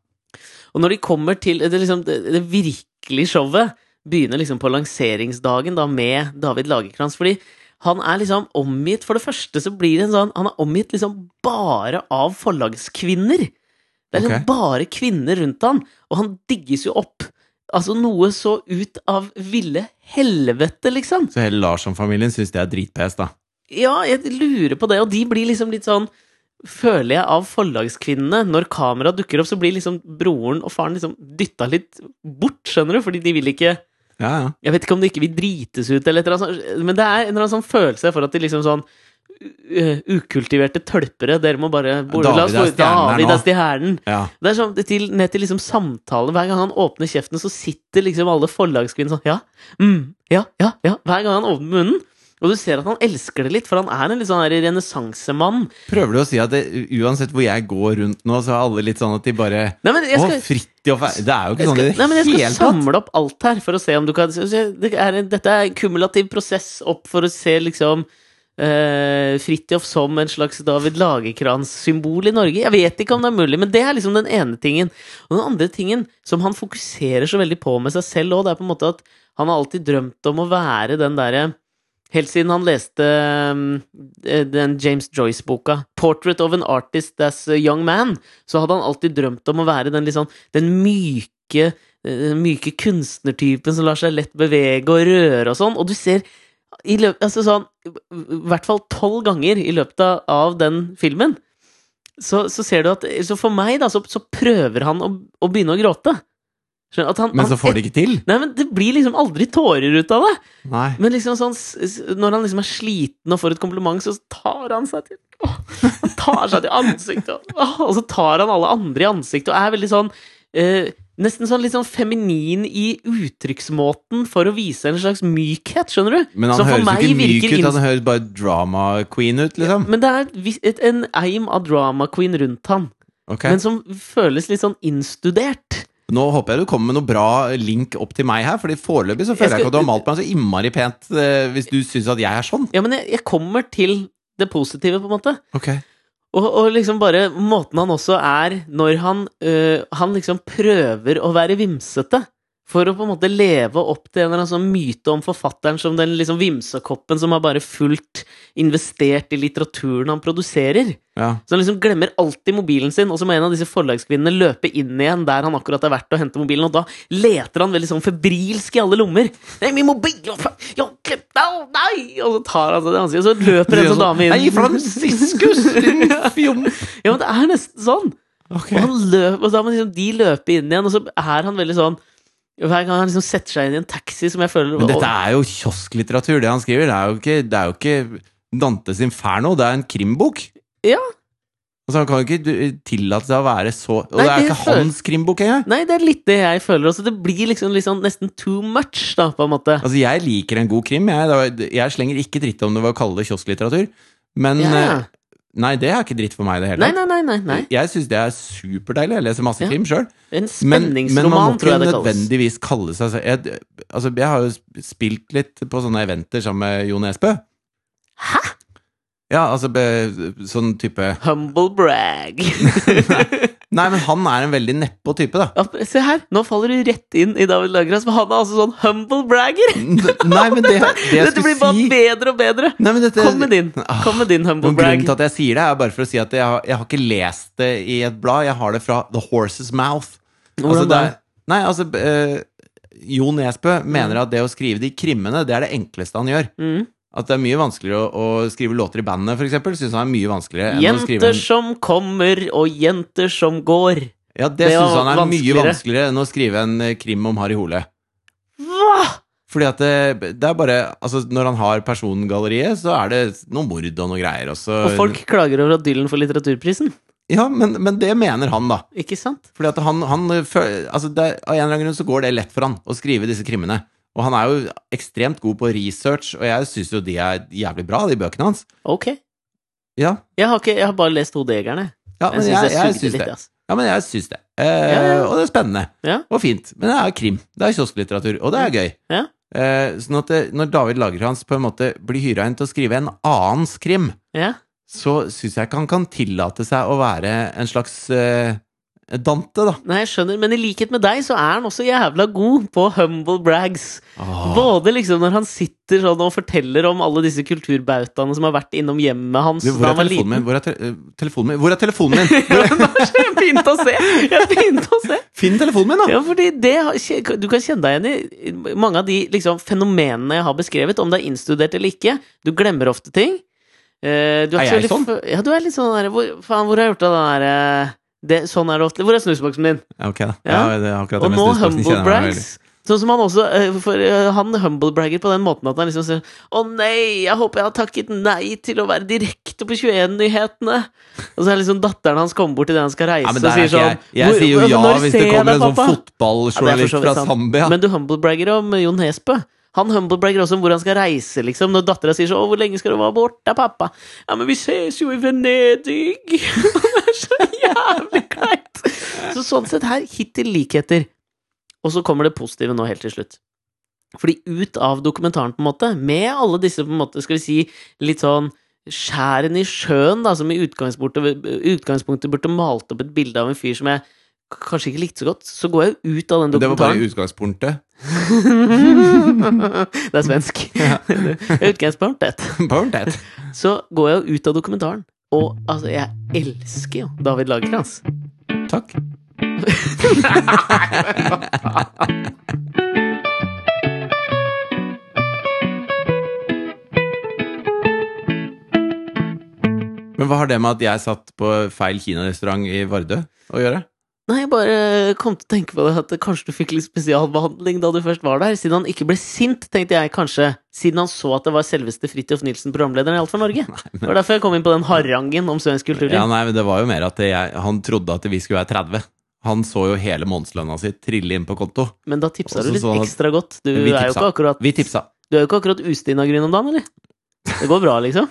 Og når de kommer til det, liksom, det, det virkelige showet, begynner liksom på lanseringsdagen da med David Lagerkrantz. Fordi han er liksom omgitt For det første så blir det en sånn Han er omgitt liksom bare av forlagskvinner. Det er liksom
Ok.
bare kvinner rundt han, og han digges jo opp. Altså noe så ut av ville helvete, liksom.
Så hele Larsson-familien syns det er dritpes, da.
Ja, jeg lurer på det, og de blir liksom litt sånn Føler jeg av forlagskvinnene. Når kameraet dukker opp, så blir liksom broren og faren liksom dytta litt bort, skjønner du, fordi de vil ikke
Ja, ja.
Jeg vet ikke om de ikke vil drites ut, eller et eller annet sånt, men det er en eller annen sånn følelse for at de liksom sånn ø, Ukultiverte tølpere, dere må bare
David
la oss gå-
er stjernen her
David
nå.
er stjernen.
ja.
Det er sånn, det til, ned til liksom samtale Hver gang han åpner kjeften, så sitter liksom alle forlagskvinner sånn Ja, mm, ja, ja, ja Hver gang han åpner munnen Og du ser at han elsker det litt For han er en litt sånn her renessansemann
Prøver du å si at det, uansett hvor jeg går rundt nå, så er alle litt sånn at de bare
Nei, men jeg skal
Å, Fridtjof er- Det er jo ikke
jeg
sånn i
skal,
det
nei, men jeg skal
hele tatt.
samle opp alt her for å se om du kan så- så det er, en- Dette er en kumulativ prosess opp for å se liksom uh, Fridtjof som en slags David Lagerkrans-symbol i Norge. Jeg vet ikke om det er mulig, men det er liksom den ene tingen. Og den andre tingen som han fokuserer så veldig på med seg selv òg, det er på en måte at han har alltid drømt om å være den derre Helt siden han leste um, den James Joyce-boka, 'Portrait of an Artist as a Young Man', så hadde han alltid drømt om å være den, litt sånn, den myke, eh, myke kunstnertypen som lar seg lett bevege og røre og sånn. Og du ser i løpet, altså sånn, i hvert fall tolv ganger i løpet av- av den filmen, så, så ser du at Så for meg, da, så, så prøver han å, å begynne å gråte. Skjønner du? At han,
Men så får de ikke til.
Nei, men det blir liksom aldri tårer ut av det.
Nei.
Men liksom sånn, s- s- når han liksom er sliten og får et kompliment, så tar han seg til åh, Han tar seg til ansiktet, og, åh, og så tar han alle andre i ansiktet og er veldig sånn eh, Nesten sånn litt sånn feminin i uttrykksmåten for å vise en slags mykhet, skjønner du?
Men han
Som for
høres jo
meg
ikke myk ut,
virker inst-
han høres bare drama queen ut, liksom.
Men det er et vis- et, en eim av drama queen rundt han,
Ok.
men som føles litt sånn innstudert.
Nå håper jeg du kommer med noe bra link opp til meg her, Fordi foreløpig så føler jeg
Jeg skal-
ikke at du har malt meg så innmari pent eh, hvis du syns at jeg er sånn.
Ja, men jeg, jeg kommer til det positive, på en måte.
Ok.
Og, og liksom bare måten han også er når han, øh, han liksom prøver å være vimsete. For å på en måte leve opp til en eller annen sånn myte om forfatteren som den liksom vimsekoppen som har bare fullt investert i litteraturen han produserer.
Ja.
Så han liksom glemmer alltid mobilen sin, og så må en av disse forlagskvinnene løpe inn igjen der han akkurat har vært og hente mobilen, og da leter han veldig sånn febrilsk i alle lommer. 'Nei, min mobil! Jeg har glemt den! Nei!' Og så tar han seg til ansiktet, og så løper en sånn dame inn.
Nei, Franciscus, din fjom...
Ja, men det er nesten sånn.
Ok.
Og, han løp, og da må liksom de løpe inn igjen, og så er han veldig sånn Hver gang han liksom setter seg inn i en taxi, som jeg føler
Men dette er jo kiosklitteratur, det han skriver. Det er jo ikke, det er jo ikke Dantes Inferno, det er en krimbok.
Ja.
Altså, han kan jo ikke du- tillate seg å være så Og
Nei,
det er
det
ikke
føler-
hans krimbok engang!
Nei, det er litt det jeg føler også. Det blir liksom litt sånn nesten too much, da, på en måte.
Altså, jeg liker en god krim. Jeg, Det var- jeg slenger ikke dritt om det var å kalle det kiosklitteratur. Men
Ja.
eh, Nei, det er ikke dritt for meg i det hele
Nei, nei, nei, nei, nei.
Jeg syns det er superdeilig. Jeg leser masse
Ja.
krim sjøl.
En
Men, men man
spenningsroman,
må
tror
ikke
jeg det kalles.
nødvendigvis kalle seg så- jeg, altså, jeg har jo sp- spilt litt på sånne eventer sammen med Jo Nesbø.
Hæ?
Ja, altså be, sånn type
Humble brag.
Nei, men han er en veldig nedpå type, da.
Ja, Se her, nå faller du rett inn i David Lageras, men han er altså sånn humble bragger!
N- Nei, men det, det jeg
Dette blir
skulle
bare
si
bedre og bedre.
Nei, men dette,
Kom med din. Kom med din humble
Og Grunnen
brag.
til at jeg sier det, er bare for å si at jeg har, jeg har ikke lest det i et blad. Jeg har det fra The Horse's Mouth. Altså,
Hvordan
det er-
da?
Nei, altså eh, Jo Nesbø mener at det å skrive de krimmene, det er det enkleste han gjør.
Mm.
At det er mye vanskeligere å, å skrive låter i bandet, for eksempel. Syns han er mye vanskeligere enn å skrive
Jenter
en
som kommer, og jenter som går.
Ja, det,
det var
synes han er mye
vanskeligere.
vanskeligere enn å skrive en eh, krim om Harry Hole.
Hva?!
Fordi at det, det er bare Altså, når han har persongalleriet, så er det noe mord og noe greier, og så
Og folk klager over at Dylan får litteraturprisen.
Ja, men, men det mener han, da.
Ikke sant?
Fordi at han, han føl- altså det, er- Av en eller annen grunn så går det lett for han å skrive disse krimmene. Og han er jo ekstremt god på research, og jeg syns jo de er jævlig bra, de bøkene hans.
Ok.
Ja,
Jeg har, ikke, jeg har bare lest Hodejegerne.
ja
Jeg
men
syns
jeg,
jeg,
jeg
sugde
syns
litt,
det.
ass.
Ja, men jeg syns det. Eh,
ja, ja.
Og det er spennende.
Ja. Mm.
Og fint. Men det er krim. Det er kiosklitteratur. Og det er gøy.
Ja.
Eh, sånn at det, når David Lagerhans på en måte blir hyra inn til å skrive en annens krim,
Ja.
så syns jeg ikke han kan tillate seg å være en slags eh, Dante, da.
Nei, jeg skjønner, men i likhet med deg så er han også jævla god på humble brags.
Åh.
Både liksom når han sitter sånn og forteller om alle disse kulturbautaene som har vært innom hjemmet hans
Du, hvor, er
da han var
telefonen min?
liten.
hvor er te eh, telefonen min? Hvor er telefonen min?
Ja, men da skjer- Jeg begynte å se! Jeg begynte å se!
Finn telefonen min, da!
Ja, fordi det, har- kje- Du kan kjenne deg igjen i mange av de liksom, fenomenene jeg har beskrevet, om det er innstudert eller ikke. Du glemmer ofte ting. Eh, Du
Er
ikke
jeg
så veldig f- Ja, du er litt sånn der hvor, Faen, hvor har jeg gjort av den der eh, det, Sånn er det ofte. Hvor er snusboksen din?
Ja, Ok, da. Ja,
Ja.
det er akkurat det
Og
med
nå
snusboksen,
humble
kjenner jeg meg veldig.
brags. Sånn som han også eh, for, eh, Han humblebragger på den måten at han liksom sier Å nei, jeg håper jeg har takket nei til å være direkte på 21-nyhetene. Og så er liksom datteren hans kommer bort til det han skal reise,
Ja, men
og
der er
sier
ikke jeg.
sånn
Jeg
«Hvor-
sier jo
hvor-
ja
når
hvis
ser
det
jeg
kommer
deg,
en sånn
pappa?» Ja, det er
fotballjournalist
for så vidt
fra
sant.
Zambia.
Men du humblebragger om eh, Jon Nesbø. Han humblebragger også om hvor han skal reise, liksom. Når dattera sier sånn 'Å, hvor lenge skal du være borte, pappa?' 'Ja, men vi ses jo i Venedig'. det er så jævlig kleint! Så sånn sett her, hittil likheter. Og så kommer det positive nå helt til slutt. Fordi ut av dokumentaren, på en måte, med alle disse, på en måte, skal vi si, litt sånn skjæren i sjøen, da, som i utgangspunktet, utgangspunktet burde malt opp et bilde av en fyr som jeg k- kanskje ikke likte så godt, så går jeg jo ut av den
Det var bare
dokumentaren.
utgangspunktet.
Det er svensk. Utgangspunktet.
Punktet.
Så går jeg jo ut av dokumentaren. Og altså, jeg elsker jo David Lagerkrantz.
Takk. Men hva har det med at jeg satt på feil kinarestaurant i Vardø å gjøre?
Nei, jeg bare kom til å tenke på det at kanskje du fikk litt spesialbehandling da du først var der. Siden han ikke ble sint, tenkte jeg kanskje. Siden han så at det var selveste Fridtjof Nilsen, programlederen i Alt for Norge. Det var derfor jeg kom inn på den harangen om svensk kulturliv.
Ja, nei, men Det var jo mer at jeg, han trodde at vi skulle være 30. Han så jo hele månedslønna si trille inn på konto.
Men da tipsa
Også
du litt
sånn at-
ekstra godt. Du
Vi
er jo
tipsa.
ikke akkurat
Vi tipsa.
Du er jo ikke akkurat ustinn av grunn om dagen, eller? Det går bra, liksom?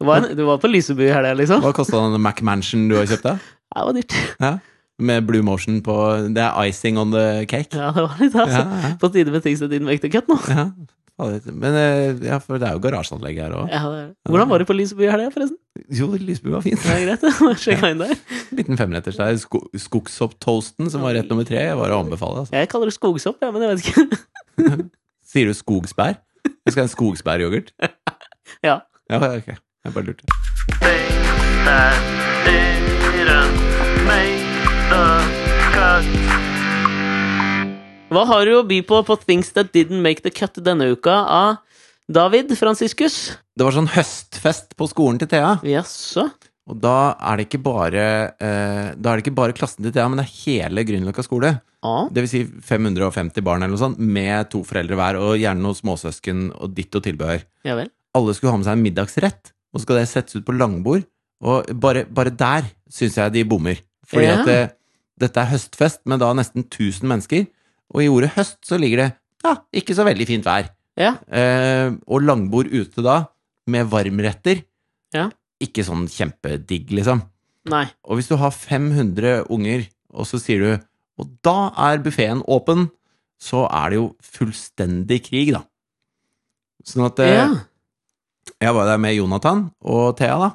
Du var, en, du var på Lyseby i helga, liksom?
Hva kosta den McMansion du har kjøpt deg?
Det var dyrt.
Ja. Med Blue Motion på Det er icing on the cake.
Ja, det var litt,
Ja,
altså.
ja,
På tide med ting som din vekter kutt nå.
ja. Fader. Men eh, ja, for det er jo garasjeanlegg her òg.
Ja, det er. det. Hvordan var det på Lyseby i helga, forresten?
Jo, Lysbu var fint.
Det er greit, det. Bare Sjekka inn der.
Liten femretters der. Sko Skogsopptoasten, som var rett nummer tre, var å anbefale. Altså.
Jeg kaller det skogsopp, ja, men jeg vet ikke.
Sier du skogsbær? Du skal ha en skogsbæryoghurt?
Ja.
Ja, ok. Jeg bare lurte.
that didn't make the cut.
Hva har du å by på på Things That Didn't Make The Cut denne uka av David Franciscus?
Det var sånn høstfest på skolen til Thea.
Jaså?
Og da er det ikke bare, eh, da er det ikke bare klassen til Thea, men det er hele Grünerløkka skole.
Ah.
Det vil si 550 barn eller noe sånt, med to foreldre hver, og gjerne noen småsøsken og ditt og tilbehør.
Ja vel.
Alle skulle ha med seg en middagsrett, og så skal det settes ut på langbord. Og bare, bare der syns jeg de bommer. Fordi
Ja.
at eh, dette er høstfest, men da nesten 1000 mennesker. Og i ordet høst så ligger det ja, ikke så veldig fint vær.
Ja.
Eh, og langbord ute da, med varmretter.
Ja.
Ikke sånn kjempedigg, liksom.
Nei.
Og hvis du har 500 unger, og så sier du Og da er buffeen åpen, så er det jo fullstendig krig, da. Sånn at eh,
ja.
jeg var der med Jonathan og Thea, da.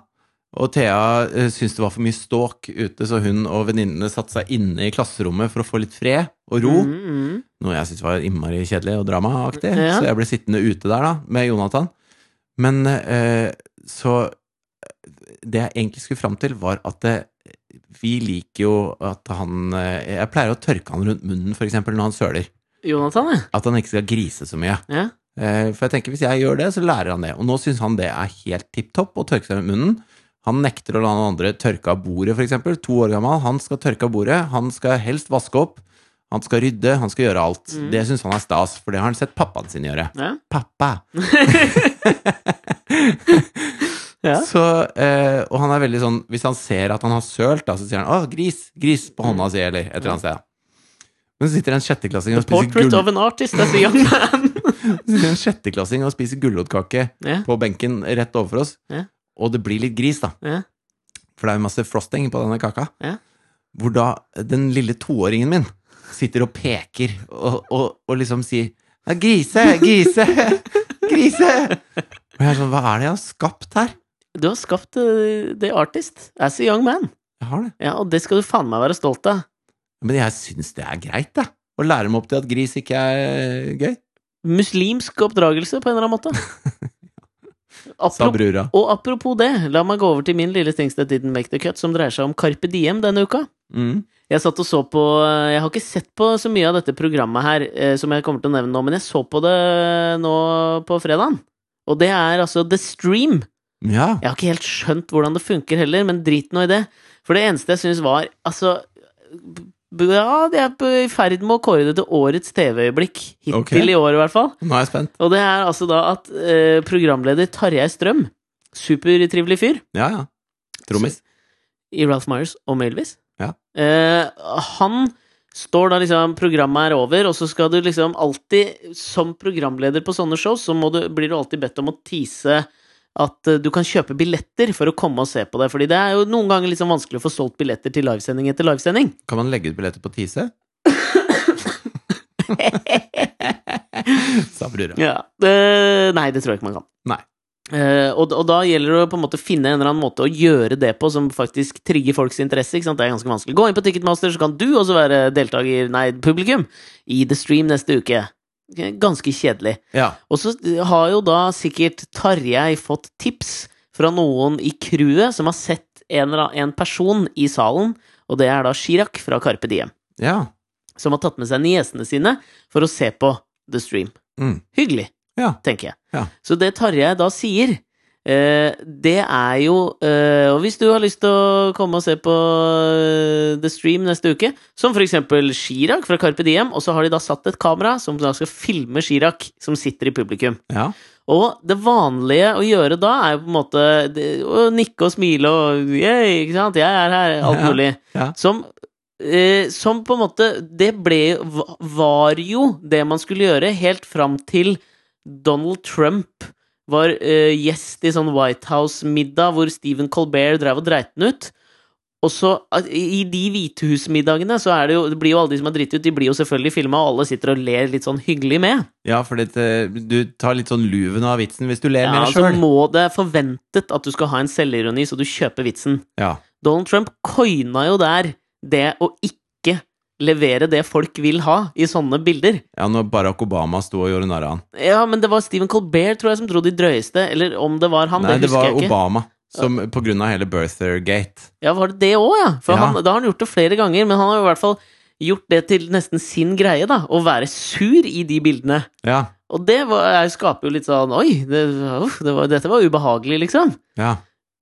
Og Thea eh, syntes det var for mye ståk ute, så hun og venninnene satte seg inne i klasserommet for å få litt fred og ro.
Mm, mm.
Noe jeg syntes var innmari kjedelig og dramaaktig.
Ja.
Så jeg ble sittende ute der, da, med Jonathan. Men eh, så eh, Det jeg egentlig skulle fram til, var at det, vi liker jo at han eh, Jeg pleier å tørke han rundt munnen, for eksempel, når han søler.
Jonathan, ja.
At han ikke skal grise så mye.
ja.
Eh, For jeg tenker, hvis jeg gjør det, så lærer han det. Og nå syns han det er helt tipp topp å tørke seg med munnen. Han nekter å la noen andre tørke av bordet, f.eks. To år gammel. Han skal tørke av bordet. Han skal helst vaske opp. Han skal rydde. Han skal gjøre alt.
Mm.
Det syns han er stas, for det har han sett pappaen sin gjøre.
Ja.
Pappa!
Ja.
Så, eh, og han er veldig sånn Hvis han ser at han har sølt, da, så sier han 'Å, gris! Gris!' på hånda si, eller et eller annet sted. Men så sitter en sjetteklassing og spiser,
Portrait
gull,
of an artist as a young man.
sitter en sjetteklassing og spiser gulrotkake
ja.
på benken rett overfor oss,
Ja.
og det blir litt gris, da.
Ja.
For det er jo masse frosting på denne kaka.
Ja.
Hvor da den lille toåringen min sitter og peker og, og, og liksom sier ja, 'Grise! Grise! Grise!' Og jeg er sånn Hva er det jeg har skapt her?
Du har skapt eh, the artist as a young man.
Jeg har det.
Ja, og det skal du faen meg være stolt av.
Men jeg syns det er greit, da. Å lære dem opp til at gris ikke er eh, gøy.
Muslimsk oppdragelse, på en eller annen måte.
Sa
Apropos,
brura.
og apropos det, la meg gå over til min lille things that didn't make the cut, som dreier seg om Carpe Diem denne uka.
Mm.
Jeg satt og så på eh, Jeg har ikke sett på så mye av dette programmet her, eh, som jeg kommer til å nevne nå, men jeg så på det eh, nå på fredagen. Og det er altså The Stream.
Ja.
Jeg har ikke helt skjønt hvordan det funker heller, men drit nå i det. For det eneste jeg syns var Altså b- Ja, de er på- i ferd med å kåre det til årets TV-øyeblikk. Hittil
Ok.
i år, i hvert fall.
Nå er jeg spent.
Og det er altså da at eh, programleder Tarjei Strøm, supertrivelig fyr
Ja, ja. Trommis.
i Ralph Myers om Elvis
Ja.
eh, Han står da liksom Programmet er over, og så skal du liksom alltid Som programleder på sånne show, så må du, blir du alltid bedt om å tease at eh, du kan kjøpe billetter for å komme og se på det. Fordi det er jo noen ganger litt sånn vanskelig å få solgt billetter til livesending etter livesending.
Kan man legge ut billetter på Tise? Sa brura.
Ja. Eh, nei, det tror jeg ikke man kan.
Nei.
Eh, og, og da gjelder det å på en måte finne en eller annen måte å gjøre det på som faktisk trigger folks interesse. Ikke sant? Det er ganske vanskelig. Gå inn på Ticketmaster, så kan du også være deltaker, nei, publikum, i The Stream neste uke. Ganske kjedelig.
Ja.
Og så har jo da sikkert Tarjei fått tips fra noen i crewet som har sett en, eller annen- en person i salen, og det er da Chirag fra Carpe Diem,
Ja.
som har tatt med seg niesene sine for å se på The Stream.
Mm.
Hyggelig
Ja.
tenker jeg.
Ja.
Så det Tarjei da sier, eh, det er jo eh, Og hvis du har lyst til å komme og se på eh, The Stream neste uke, som for eksempel Chirag fra Carpe Diem, og så har de da satt et kamera som da skal filme Chirag som sitter i publikum.
Ja.
Og det vanlige å gjøre da er jo på en måte det- å nikke og smile og «Yay, ikke sant? 'Jeg er her', alt
Ja,
mulig.
ja.
Som, eh, som på en måte Det ble, va- var jo det man skulle gjøre helt fram til Donald Trump var eh, gjest i sånn White House-middag hvor Stephen Colbert drev og dreit den ut. Og så, at- I de hvitehusmiddagene så er det jo, det blir jo alle de som har driti ut, de blir jo selvfølgelig filma, og alle sitter og ler litt sånn hyggelig med.
Ja, for det, eh, du tar litt sånn luven av vitsen hvis du ler
Ja,
mer
altså
sjøl.
må det er forventet at du skal ha en selvironi, så du kjøper vitsen.
Ja.
Donald Trump coina jo der det å ikke levere det folk vil ha i sånne bilder.
ja, når Barack Obama sto og gjorde narr av han.
Ja, men det var Stephen Colbert, tror jeg, som dro de drøyeste. Eller om det var han,
Nei,
det
det
husker
var
jeg ikke.
Obama, som på grunn av hele Birthergate.
Ja, var det det òg, ja? For
Ja.
Han, da har han gjort det flere ganger, men han har jo i hvert fall gjort det til nesten sin greie, da. Å være sur i de bildene.
Ja.
Og det var, jeg skaper jo litt sånn Oi, det, uff, det var, dette var ubehagelig, liksom.
Ja.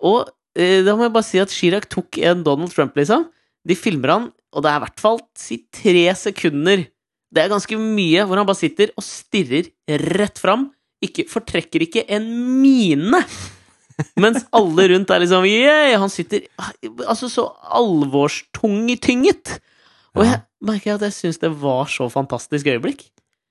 Og eh, da må jeg bare si at Chirag tok en Donald Trump, liksom. De filmer han, og det er i hvert fall si tre sekunder. Det er ganske mye hvor han bare sitter og stirrer rett fram. Ikke, fortrekker ikke en mine Mens alle rundt er liksom yeah! Han sitter altså så alvorstungetynget. Og
Ja.
jeg merker at jeg syns det var så fantastisk øyeblikk.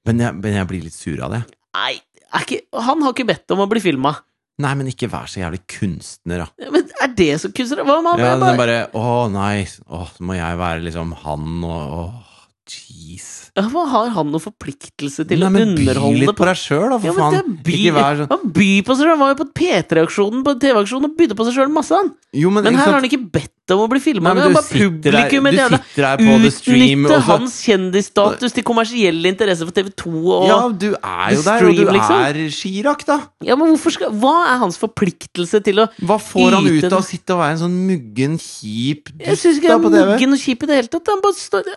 Men jeg, men jeg blir litt sur av det.
Nei, er ikke, han har ikke bedt om å bli filma.
Nei, men ikke vær så jævlig kunstner, da.
Men er det så kunstner? Hva om han
Ja, det
bare,
er bare Å nei, å, så må jeg være liksom han og Åh, jeez.
Ja, hva Har han noen forpliktelse til
Nei,
å
men by
underholde
litt på deg sjøl, da, for
Ja, men det
faen.
er by,
Ikke vær sånn
Han byr på seg selv. Han var jo på P3-aksjonen på TV-aksjonen og bydde på seg sjøl masse, han.
Jo, men,
Men
ikke
her
sant?
har han ikke bedt om å bli filma.
Nei, men
Han
du
bare
sitter der, du
publikum et jævla
sitter der på the stream
Utnytte
og så,
hans kjendisstatus til kommersiell interesse for TV2 og
Ja,
ja.
du er jo
the
der, og du
stream, liksom.
er Chirag, da.
men hvorfor skal Hva er hans forpliktelse til å
Hva får han ut
Yte
av å
den.
sitte og være en sånn muggen, kjip
Jeg
dust
syns ikke det
da
er
på TV?
muggen og kjip i det hele tatt. Han bare står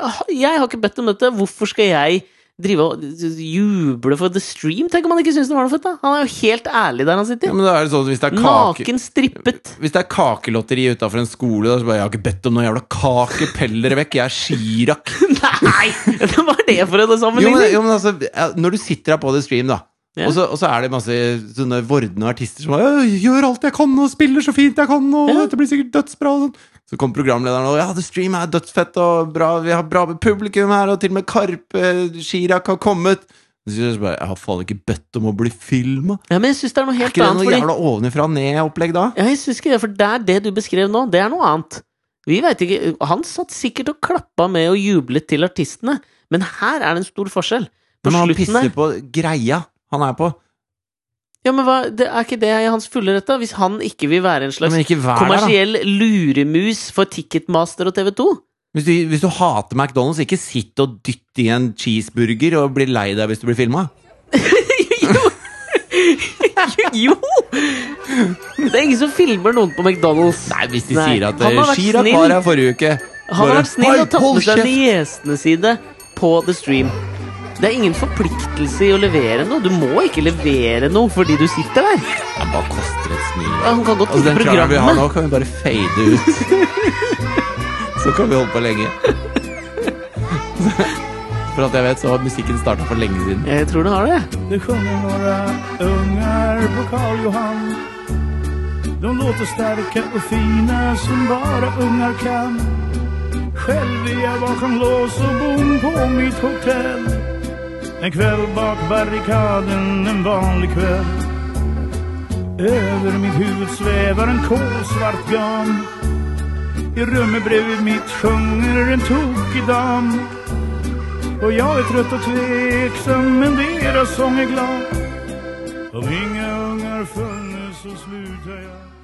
Jeg har ikke bedt om dette. Hvorfor skal jeg drive og juble for The Stream? Tenk om han ikke syns det var noe fett, da. Han er jo helt ærlig der han
Ja,
sitter.
men da er det sånn at hvis det er kake
Naken, strippet.
Hvis det er kakelotteri utafor en skole, da, så bare Jeg har ikke bedt om noen jævla kake, pell dere vekk, jeg er Chirag.
Nei! Det var det for
Jo,
en
men,
sammenligning.
jo, men altså, ja, når du sitter her på The Stream, da,
Ja.
og, så, og så er det masse sånne vordende artister som bare «Jeg gjør alt jeg kan, og spiller så fint jeg kan, og
Ja.
dette blir sikkert dødsbra. Og sånn. Så kom programlederen og ja, The Stream er dødsfett, og bra, vi har bra med publikum her, og til og med Karpe, Chirag har kommet. Så sier jeg så bare, jeg har faen ikke bedt om å bli filma.
Ja, men jeg syns det er noe
Er
helt
ikke det
annet.
noe
fordi-
jævla ovenifra og ned-opplegg da?
Ja, jeg synes ikke det, for det er det du beskrev nå, det er noe annet. Vi vet ikke, Han satt sikkert og klappa med og jublet til artistene, men her er det en stor forskjell. På
Men han
slutten
pisser
der
på greia han er på.
Ja, men hva, det Er ikke det i hans fulle rett, da? Hvis han ikke vil være en slags
Men ikke vær der, da.
kommersiell luremus for Ticketmaster og TV2?
Hvis du, hvis du hater McDonald's, ikke sitt og dytt i en cheeseburger og bli lei deg hvis du blir filma.
jo! Det er ingen som filmer noen på McDonald's.
Nei, hvis de
Nei.
sier at eh,
Han har vært
Chirag
snill.
var her forrige uke
Han har
bare,
vært snill
«Oi,
og tatt
hold
med seg
kjeft!»
niesene sine på The Stream. Det er ingen forpliktelse i å levere noe. Du må ikke levere noe fordi du sitter der.
Ja, Hva koster et smil?
Ja, Han kan godt
Altså,
altså,
den krangelen vi har
programmet.
nå, kan vi bare fade ut. så kan vi holde på lenge. For at jeg vet, så har musikken starta for lenge siden.
Jeg tror den har det.
Det sjunger några ungar på Karl Johan De låter starka och fina som bara ungar kan Själv är jag bakom lås och bom på mitt hotell En kväll bak barrikaden, en vanlig kväll Över mitt huvud svävar en kolsvart gam I rummet bredvid mitt sjunger en tokig dam och jag är trött och tveksam men deras sång är glad Om inga ungar funnits så slutar jag